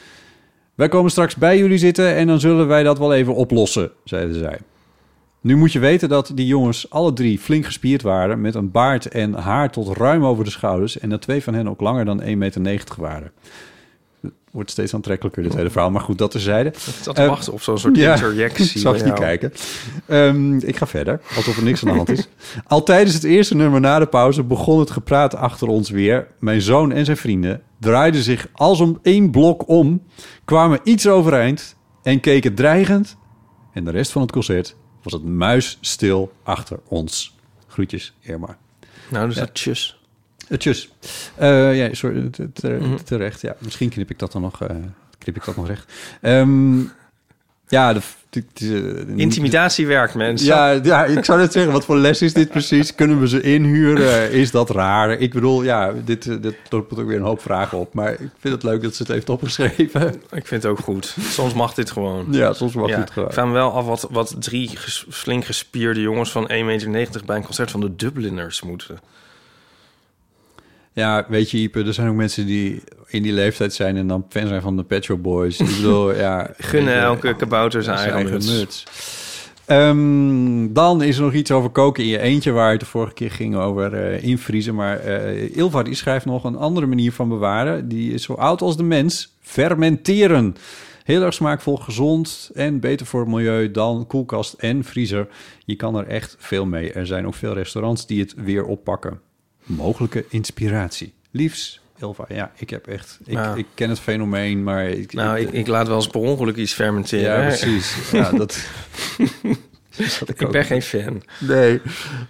Speaker 2: Wij komen straks bij jullie zitten en dan zullen wij dat wel even oplossen, zeiden zij. Nu moet je weten dat die jongens alle drie flink gespierd waren... met een baard en haar tot ruim over de schouders... en dat twee van hen ook langer dan 1,90 meter waren. Het wordt steeds aantrekkelijker, dit hele verhaal. Maar goed, dat terzijde.
Speaker 3: Ik zat te
Speaker 2: Eh,
Speaker 3: wachten op zo'n soort interjectie.
Speaker 2: zag
Speaker 3: bij
Speaker 2: niet
Speaker 3: jou.
Speaker 2: kijken. Ehm, ik ga verder, alsof er niks aan de hand is. Al tijdens het eerste nummer na de pauze begon het gepraat achter ons weer. Mijn zoon en zijn vrienden draaiden zich als om één blok om, kwamen iets overeind en keken dreigend. En de rest van het concert was het muisstil achter ons. Groetjes, Irma.
Speaker 3: Nou, dus dat tjus.
Speaker 2: Eh, Tjus. Eh, ja, sorry, te- te-
Speaker 3: Mhm.
Speaker 2: terecht. Ja, misschien knip ik dat dan nog, eh, knip ik dat nog recht. Ehm, ja, de, de- de-
Speaker 3: Intimidatie werkt, mensen.
Speaker 2: eh, ja, ja, ik zou net zeggen, wat voor les is dit precies? Kunnen we ze inhuren? Is dat raar? Ik bedoel, ja, dit, eh, dit roept ook weer een hoop vragen op. Maar ik vind het leuk dat ze het heeft opgeschreven.
Speaker 3: Ik vind het ook goed. Soms mag dit gewoon.
Speaker 2: Ja, soms mag
Speaker 3: Ja,
Speaker 2: het gewoon.
Speaker 3: Ik vraag me wel af wat, wat drie ges- flink gespierde jongens van 1,90 meter... bij een concert van de Dubliners moeten.
Speaker 2: Ja, weet je, Ipe, er zijn ook mensen die in die leeftijd zijn... en dan fan zijn van de Pet Shop Boys. Ik bedoel, ja...
Speaker 3: Gunnen
Speaker 2: eh,
Speaker 3: elke kabouter zijn eigen muts.
Speaker 2: Ehm, dan is er nog iets over koken in je eentje, waar het de vorige keer ging over eh, invriezen. Maar eh Ilva die schrijft nog een andere manier van bewaren. Die is zo oud als de mens: fermenteren. Heel erg smaakvol, gezond en beter voor het milieu dan koelkast en vriezer. Je kan er echt veel mee. Er zijn ook veel restaurants die het weer oppakken. Mogelijke inspiratie. Liefs, Elva. Ja, ik heb echt... Ik,
Speaker 3: Ja.
Speaker 2: ik ken het fenomeen, maar... Ik,
Speaker 3: Nou, ik, ik laat wel eens per ongeluk iets fermenteren.
Speaker 2: Ja, precies. Ja, dat... dat
Speaker 3: ik ben geen fan.
Speaker 2: Nee,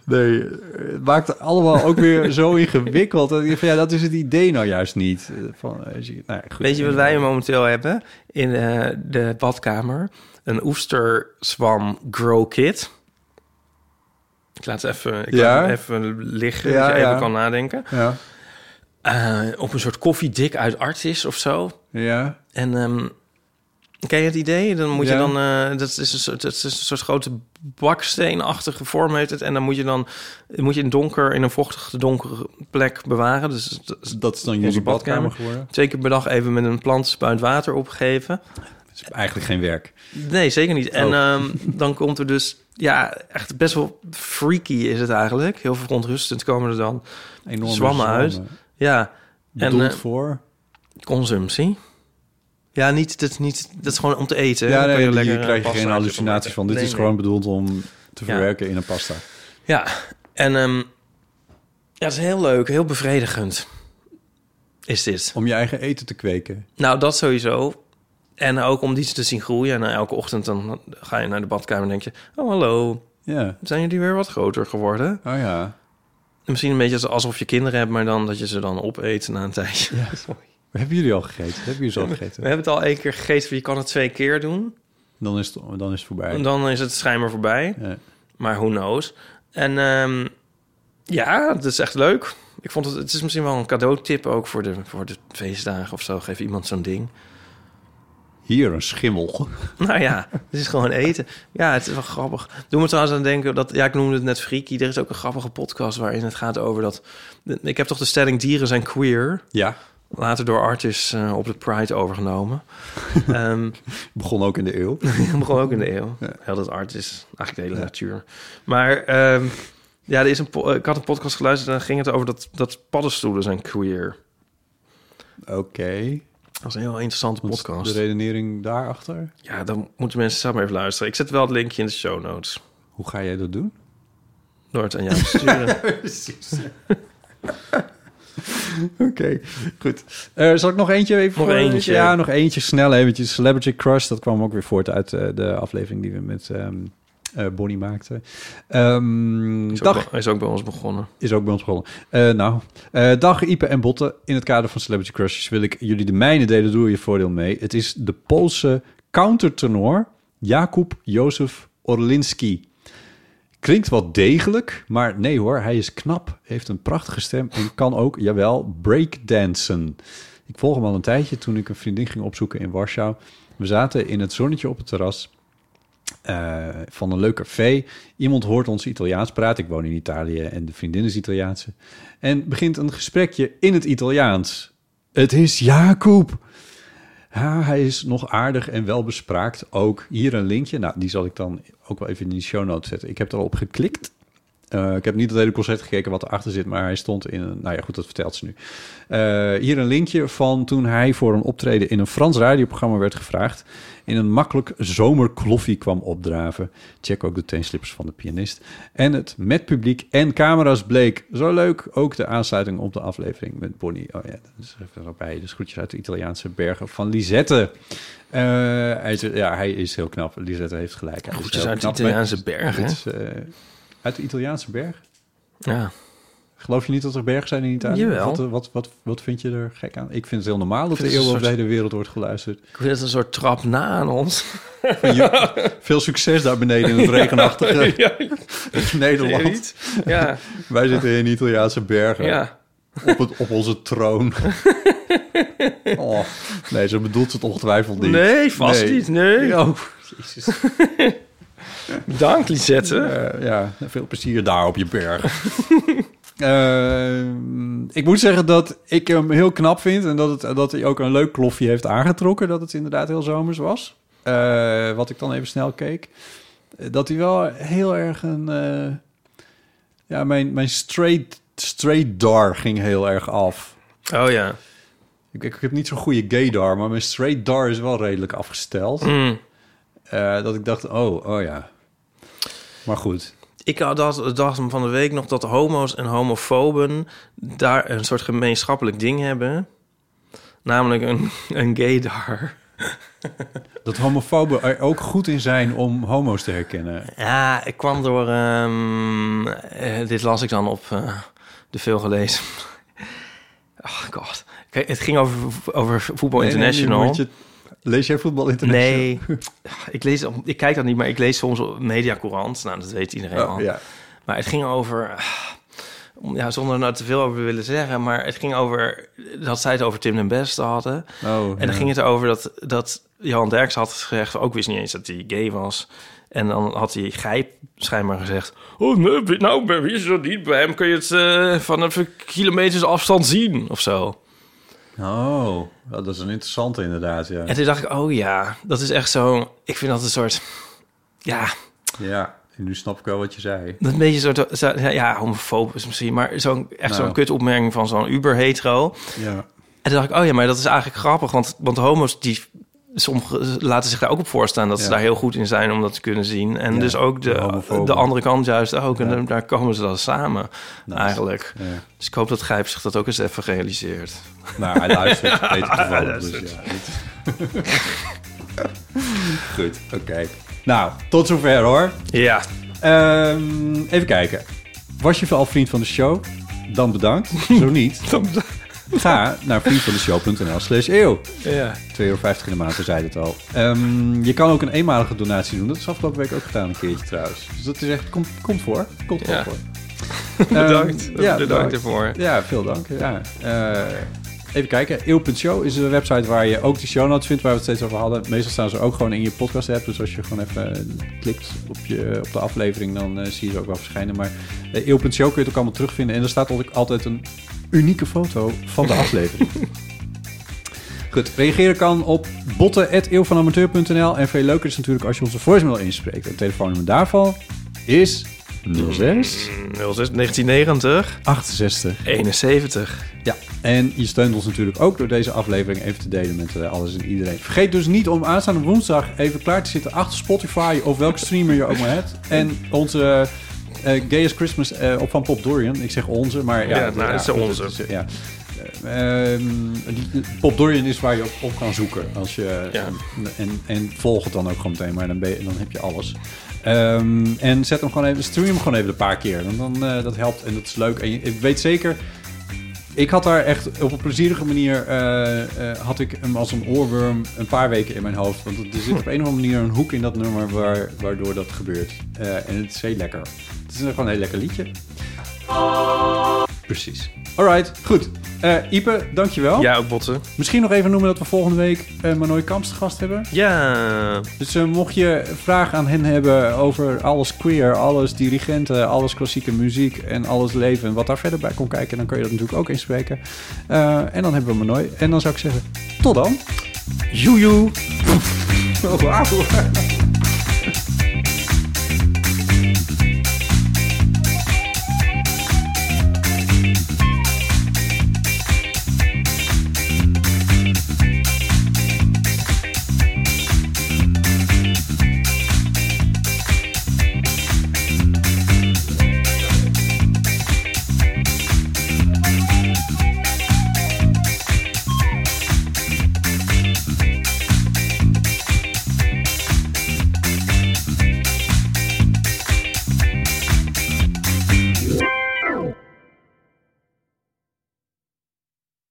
Speaker 2: nee. Het maakt het allemaal ook weer zo ingewikkeld. Dat, ik denk van, ja, dat is het idee nou juist niet. Eh, Van, eh, zie je- nou, ja, goed.
Speaker 3: Weet je wat wij momenteel hebben in eh, de badkamer? Een oesterzwam grow kit. Ik laat het even, ik
Speaker 2: Ja.
Speaker 3: laat het even liggen,
Speaker 2: Ja,
Speaker 3: dat je even
Speaker 2: ja.
Speaker 3: kan nadenken.
Speaker 2: Ja,
Speaker 3: Eh, op een soort koffiedik uit Artis of zo.
Speaker 2: ja.
Speaker 3: En ehm, ken je het idee? Dan moet
Speaker 2: Ja.
Speaker 3: je dan... eh, dat, is een soort, dat is een soort grote baksteenachtige vorm heeft het. En dan moet je dan moet je in donker, in een vochtige donkere plek bewaren. Dus dat is
Speaker 2: dat is dan
Speaker 3: onze
Speaker 2: jullie badkamer,
Speaker 3: badkamer.
Speaker 2: geworden.
Speaker 3: Twee keer per dag even met een plantspuit water opgeven.
Speaker 2: Dat is eigenlijk geen werk.
Speaker 3: Nee, zeker niet. En
Speaker 2: Oh.
Speaker 3: ehm, dan komt er dus... Ja, echt best wel freaky is het eigenlijk. Heel verontrustend komen er dan.
Speaker 2: Enorme
Speaker 3: Zwammen uit. Ja. En
Speaker 2: Bedoeld
Speaker 3: eh,
Speaker 2: voor?
Speaker 3: consumptie. Ja, niet, dat, is niet, dat is gewoon om te eten.
Speaker 2: Ja,
Speaker 3: Dan
Speaker 2: nee,
Speaker 3: kun
Speaker 2: hier
Speaker 3: lekker, eh,
Speaker 2: krijg je
Speaker 3: pasta
Speaker 2: geen
Speaker 3: uit
Speaker 2: hallucinaties
Speaker 3: maken.
Speaker 2: van. Dit
Speaker 3: Nee,
Speaker 2: is
Speaker 3: nee.
Speaker 2: gewoon bedoeld om te
Speaker 3: Ja.
Speaker 2: verwerken in een pasta.
Speaker 3: Ja, en ehm, ja, dat is heel leuk. Heel bevredigend is dit.
Speaker 2: Om je eigen eten te kweken.
Speaker 3: Nou, dat sowieso. En ook om iets te zien groeien. En eh, elke ochtend dan ga je naar de badkamer en denk je... Oh, hallo,
Speaker 2: Ja.
Speaker 3: zijn jullie weer wat groter geworden?
Speaker 2: Oh ja.
Speaker 3: Misschien een beetje alsof je kinderen hebt, maar dan dat je ze dan opeet na een tijdje.
Speaker 2: Hebben jullie al gegeten? Hebben jullie zo al
Speaker 3: We
Speaker 2: gegeten?
Speaker 3: hebben het al één keer gegeten, maar je kan het twee keer doen.
Speaker 2: Dan is het, dan is het voorbij.
Speaker 3: En Dan is het schijnbaar voorbij,
Speaker 2: Ja.
Speaker 3: maar who knows. En ehm, ja, het is echt leuk. Ik vond het, het is misschien wel een cadeautip ook voor de, voor de feestdagen of zo. Geef iemand zo'n ding.
Speaker 2: Hier een schimmel.
Speaker 3: Nou ja, het is gewoon eten. Ja, het is wel grappig. Doe me trouwens aan denken dat... Ja, ik noemde het net freaky. Er is ook een grappige podcast waarin het gaat over dat... Ik heb toch de stelling dieren zijn queer.
Speaker 2: Ja.
Speaker 3: Later door Artis eh, op de Pride overgenomen. Ehm
Speaker 2: Begon ook in de eeuw.
Speaker 3: ik begon ook in de eeuw. Heel dat art is eigenlijk de hele natuur. Maar ehm, ja, er is een po- eh, ik had een podcast geluisterd en dan ging het over dat, dat paddenstoelen zijn queer.
Speaker 2: Oké.
Speaker 3: Dat was een heel interessante
Speaker 2: Want
Speaker 3: podcast.
Speaker 2: De redenering daarachter.
Speaker 3: Ja, dan moeten mensen zelf maar even luisteren. Ik zet wel het linkje in de show notes.
Speaker 2: Hoe ga jij dat doen?
Speaker 3: Door het aan jou te sturen.
Speaker 2: Oké, goed. Eh, zal ik nog eentje even
Speaker 3: Nog
Speaker 2: voor-
Speaker 3: eentje.
Speaker 2: Ja, nog eentje snel eventjes. Celebrity Crush, dat kwam ook weer voort uit eh, de aflevering die we met ehm, eh, Bonnie maakten. Ehm,
Speaker 3: is, ook
Speaker 2: dag
Speaker 3: bij- hij is ook bij ons begonnen.
Speaker 2: is ook bij ons begonnen. Eh, nou, eh, dag Ipe en Botten. In het kader van Celebrity Crushes wil ik jullie de mijne delen. Doe er je voordeel mee. Het is de Poolse countertenor Jakub Jozef Orlinski. Klinkt wat degelijk, maar nee hoor, hij is knap, heeft een prachtige stem en kan ook, jawel, breakdansen. Ik volg hem al een tijdje toen ik een vriendin ging opzoeken in Warschau. We zaten in het zonnetje op het terras eh, van een leuk café. Iemand hoort ons Italiaans praten. Ik woon in Italië en de vriendin is Italiaanse. En begint een gesprekje in het Italiaans. Het is Jacob. Ja, hij is nog aardig en welbespraakt ook. Hier een linkje. Nou, die zal ik dan ook wel even in de show notes zetten. Ik heb er al op geklikt. Eh, ik heb niet het hele concert gekeken wat erachter zit, maar hij stond in een... Nou ja, goed, dat vertelt ze nu. Eh, hier een linkje van toen hij voor een optreden in een Frans radioprogramma werd gevraagd. In een makkelijk zomerkloffie kwam opdraven. Check ook de teenslippers van de pianist. En het met publiek en camera's bleek. Zo leuk, ook de aansluiting op de aflevering met Bonnie. Oh ja, dat is even erbij. Dus groetjes uit de Italiaanse bergen van Lisette. Eh, hij, is, ja, hij is heel knap. Lisette heeft gelijk. Hij is
Speaker 3: Groetjes
Speaker 2: heel
Speaker 3: uit de
Speaker 2: knap.
Speaker 3: Italiaanse bergen,
Speaker 2: Het is, eh, uit de Italiaanse berg?
Speaker 3: Ja.
Speaker 2: Geloof je niet dat er bergen zijn in Italië?
Speaker 3: Jawel.
Speaker 2: Wat, wat, wat, wat vind je er gek aan? Ik vind het heel normaal dat
Speaker 3: vind
Speaker 2: de
Speaker 3: het
Speaker 2: eeuw
Speaker 3: een
Speaker 2: over de
Speaker 3: soort-
Speaker 2: hele wereld wordt geluisterd.
Speaker 3: Ik vind het een soort trap na aan ons.
Speaker 2: Veel succes daar beneden in het regenachtige Nederland.
Speaker 3: Ja,
Speaker 2: Wij zitten in Italiaanse bergen
Speaker 3: ja.
Speaker 2: op, het, op onze troon. oh, nee, ze bedoelt het ongetwijfeld niet.
Speaker 3: Nee, vast
Speaker 2: Nee.
Speaker 3: niet. Nee.
Speaker 2: Oh, jezus.
Speaker 3: Dank, Lisette.
Speaker 2: Eh, ja, veel plezier daar op je berg. Eh, ik moet zeggen dat ik hem heel knap vind en dat, het, dat hij ook een leuk klofje heeft aangetrokken. Dat het inderdaad heel zomers was. Eh, wat ik dan even snel keek. Eh, Dat hij wel heel erg een. eh, ja, mijn, mijn straight, straight dar ging heel erg af.
Speaker 3: Oh ja.
Speaker 2: Ik, ik heb niet zo'n goede gaydar, maar mijn straight dar is wel redelijk afgesteld.
Speaker 3: Mm.
Speaker 2: Eh, dat ik dacht, oh, oh ja. Maar goed.
Speaker 3: Ik had dat, dacht hem van de week nog dat homo's en homofoben daar een soort gemeenschappelijk ding hebben. Namelijk een, een gaydar.
Speaker 2: Dat homofoben er ook goed in zijn om homo's te herkennen.
Speaker 3: Ja, ik kwam door... ehm, eh, dit las ik dan op eh, de veel gelezen. Oh god. Kijk, Het ging over, over Voetbal
Speaker 2: Nee, nee, nu
Speaker 3: International.
Speaker 2: moet je- lees jij voetbal international?
Speaker 3: Nee, ik, lees, ik kijk dat niet, maar ik lees soms op Mediacourant. Nou, dat weet iedereen
Speaker 2: Oh,
Speaker 3: al.
Speaker 2: ja.
Speaker 3: Maar het ging over... ah, om- Ja, zonder er nou te veel over te willen zeggen... maar het ging over dat zij het over Tim den Beste hadden.
Speaker 2: Oh,
Speaker 3: en dan
Speaker 2: ja.
Speaker 3: ging het over dat, dat Johan Derks had gezegd... ook wist niet eens dat hij gay was. En dan had hij Gijp schijnbaar gezegd... Oh, nee, wie- nou, bij wie is dat niet? Bij hem kun je het eh, van even kilometers afstand zien of zo.
Speaker 2: Oh, wel, dat is een interessante inderdaad, ja.
Speaker 3: En toen dacht ik, oh ja, dat is echt zo... Ik vind dat een soort... Ja,
Speaker 2: Ja, en nu snap ik wel wat je zei.
Speaker 3: Dat een beetje zo, zo- ja, homofoob is misschien, maar zo'n echt
Speaker 2: Nou.
Speaker 3: zo'n kut opmerking van zo'n uber-hetero.
Speaker 2: Ja.
Speaker 3: En toen dacht ik, oh ja, maar dat is eigenlijk grappig, want, want homo's die sommigen laten zich daar ook op voorstaan dat ze
Speaker 2: Ja.
Speaker 3: daar heel goed in zijn om dat te kunnen zien. En
Speaker 2: Ja,
Speaker 3: dus ook
Speaker 2: de
Speaker 3: de,
Speaker 2: homofoben.
Speaker 3: de andere kant juist ook. En dan- daar komen ze dan samen eigenlijk.
Speaker 2: Ja.
Speaker 3: Dus ik hoop dat Gijp zich dat ook eens even realiseert.
Speaker 2: Nou, hij luistert beter toevallig.
Speaker 3: Hij
Speaker 2: Dus
Speaker 3: luistert.
Speaker 2: ja, dit- Goed, oké. Nou, tot zover hoor.
Speaker 3: Ja,
Speaker 2: Ehm, even kijken. Was je al vriend van de show? Dan bedankt. Zo niet. Ga naar vriendvandeshow.nl slash eeuw.
Speaker 3: ja.
Speaker 2: 2,50 euro in de maand, we zeiden het al. Ehm, je kan ook een eenmalige donatie doen. Dat is afgelopen week ook gedaan een keertje trouwens. Dus dat is echt, komt, komt voor. Komt wel
Speaker 3: Ja.
Speaker 2: voor.
Speaker 3: bedankt.
Speaker 2: Ehm,
Speaker 3: bedankt, ervoor.
Speaker 2: Ja, veel dank. Ja. Eh, even kijken. Eeuw.show is een website waar je ook die show notes vindt, waar we het steeds over hadden. Meestal staan ze ook gewoon in je podcast app. Dus als je gewoon even klikt op, je, op de aflevering, dan eh, zie je ze ook wel verschijnen. Maar eh, eeuw.show kun je het ook allemaal terugvinden. En er staat ook altijd een unieke foto van de aflevering. Goed, reageren kan op botten.eeuwvanamateur.nl. En veel leuker is natuurlijk als je onze voicemail inspreekt. Het telefoonnummer daarvan is 06
Speaker 3: 06 1990,
Speaker 2: 68
Speaker 3: 71.
Speaker 2: ja, en je steunt ons natuurlijk ook door deze aflevering even te delen met eh, alles en iedereen. Vergeet dus niet om aanstaande woensdag even klaar te zitten achter Spotify of welke streamer je ook maar hebt. En onze eh, eh, Gay as Christmas eh, op van Pop Dorian. Ik zeg onze, maar ja.
Speaker 3: Ja, nou, het is
Speaker 2: dat
Speaker 3: onze.
Speaker 2: is, eh, ja. Eh, ehm, die- Pop Dorian is waar je op, op kan zoeken. Als je, eh,
Speaker 3: Ja.
Speaker 2: en, en volg het dan ook gewoon meteen, maar dan, ben je, dan heb je alles. Ehm, en zet hem gewoon even, stream hem gewoon even een paar keer. Want dan, eh, dat helpt en dat is leuk. En je, ik weet zeker, ik had daar echt op een plezierige manier eh, eh, had ik hem als een oorworm een paar weken in mijn hoofd. Want er zit op een of andere manier een hoek in dat nummer waar, waardoor dat gebeurt. Eh, en het is heel lekker. Het is gewoon een heel lekker liedje. Precies. Alright, goed. Eh Ipe, dankjewel.
Speaker 3: Ja, ook botten.
Speaker 2: Misschien nog even noemen dat we volgende week eh Manoy Kamps te gast hebben.
Speaker 3: Ja,
Speaker 2: Dus eh, mocht je vragen aan hen hebben over alles queer, alles dirigenten, alles klassieke muziek en alles leven en wat daar verder bij komt kijken, dan kun je dat natuurlijk ook inspreken. Eh, en dan hebben we me nooit. En dan zou ik zeggen, tot dan. Joejoe. Wauw.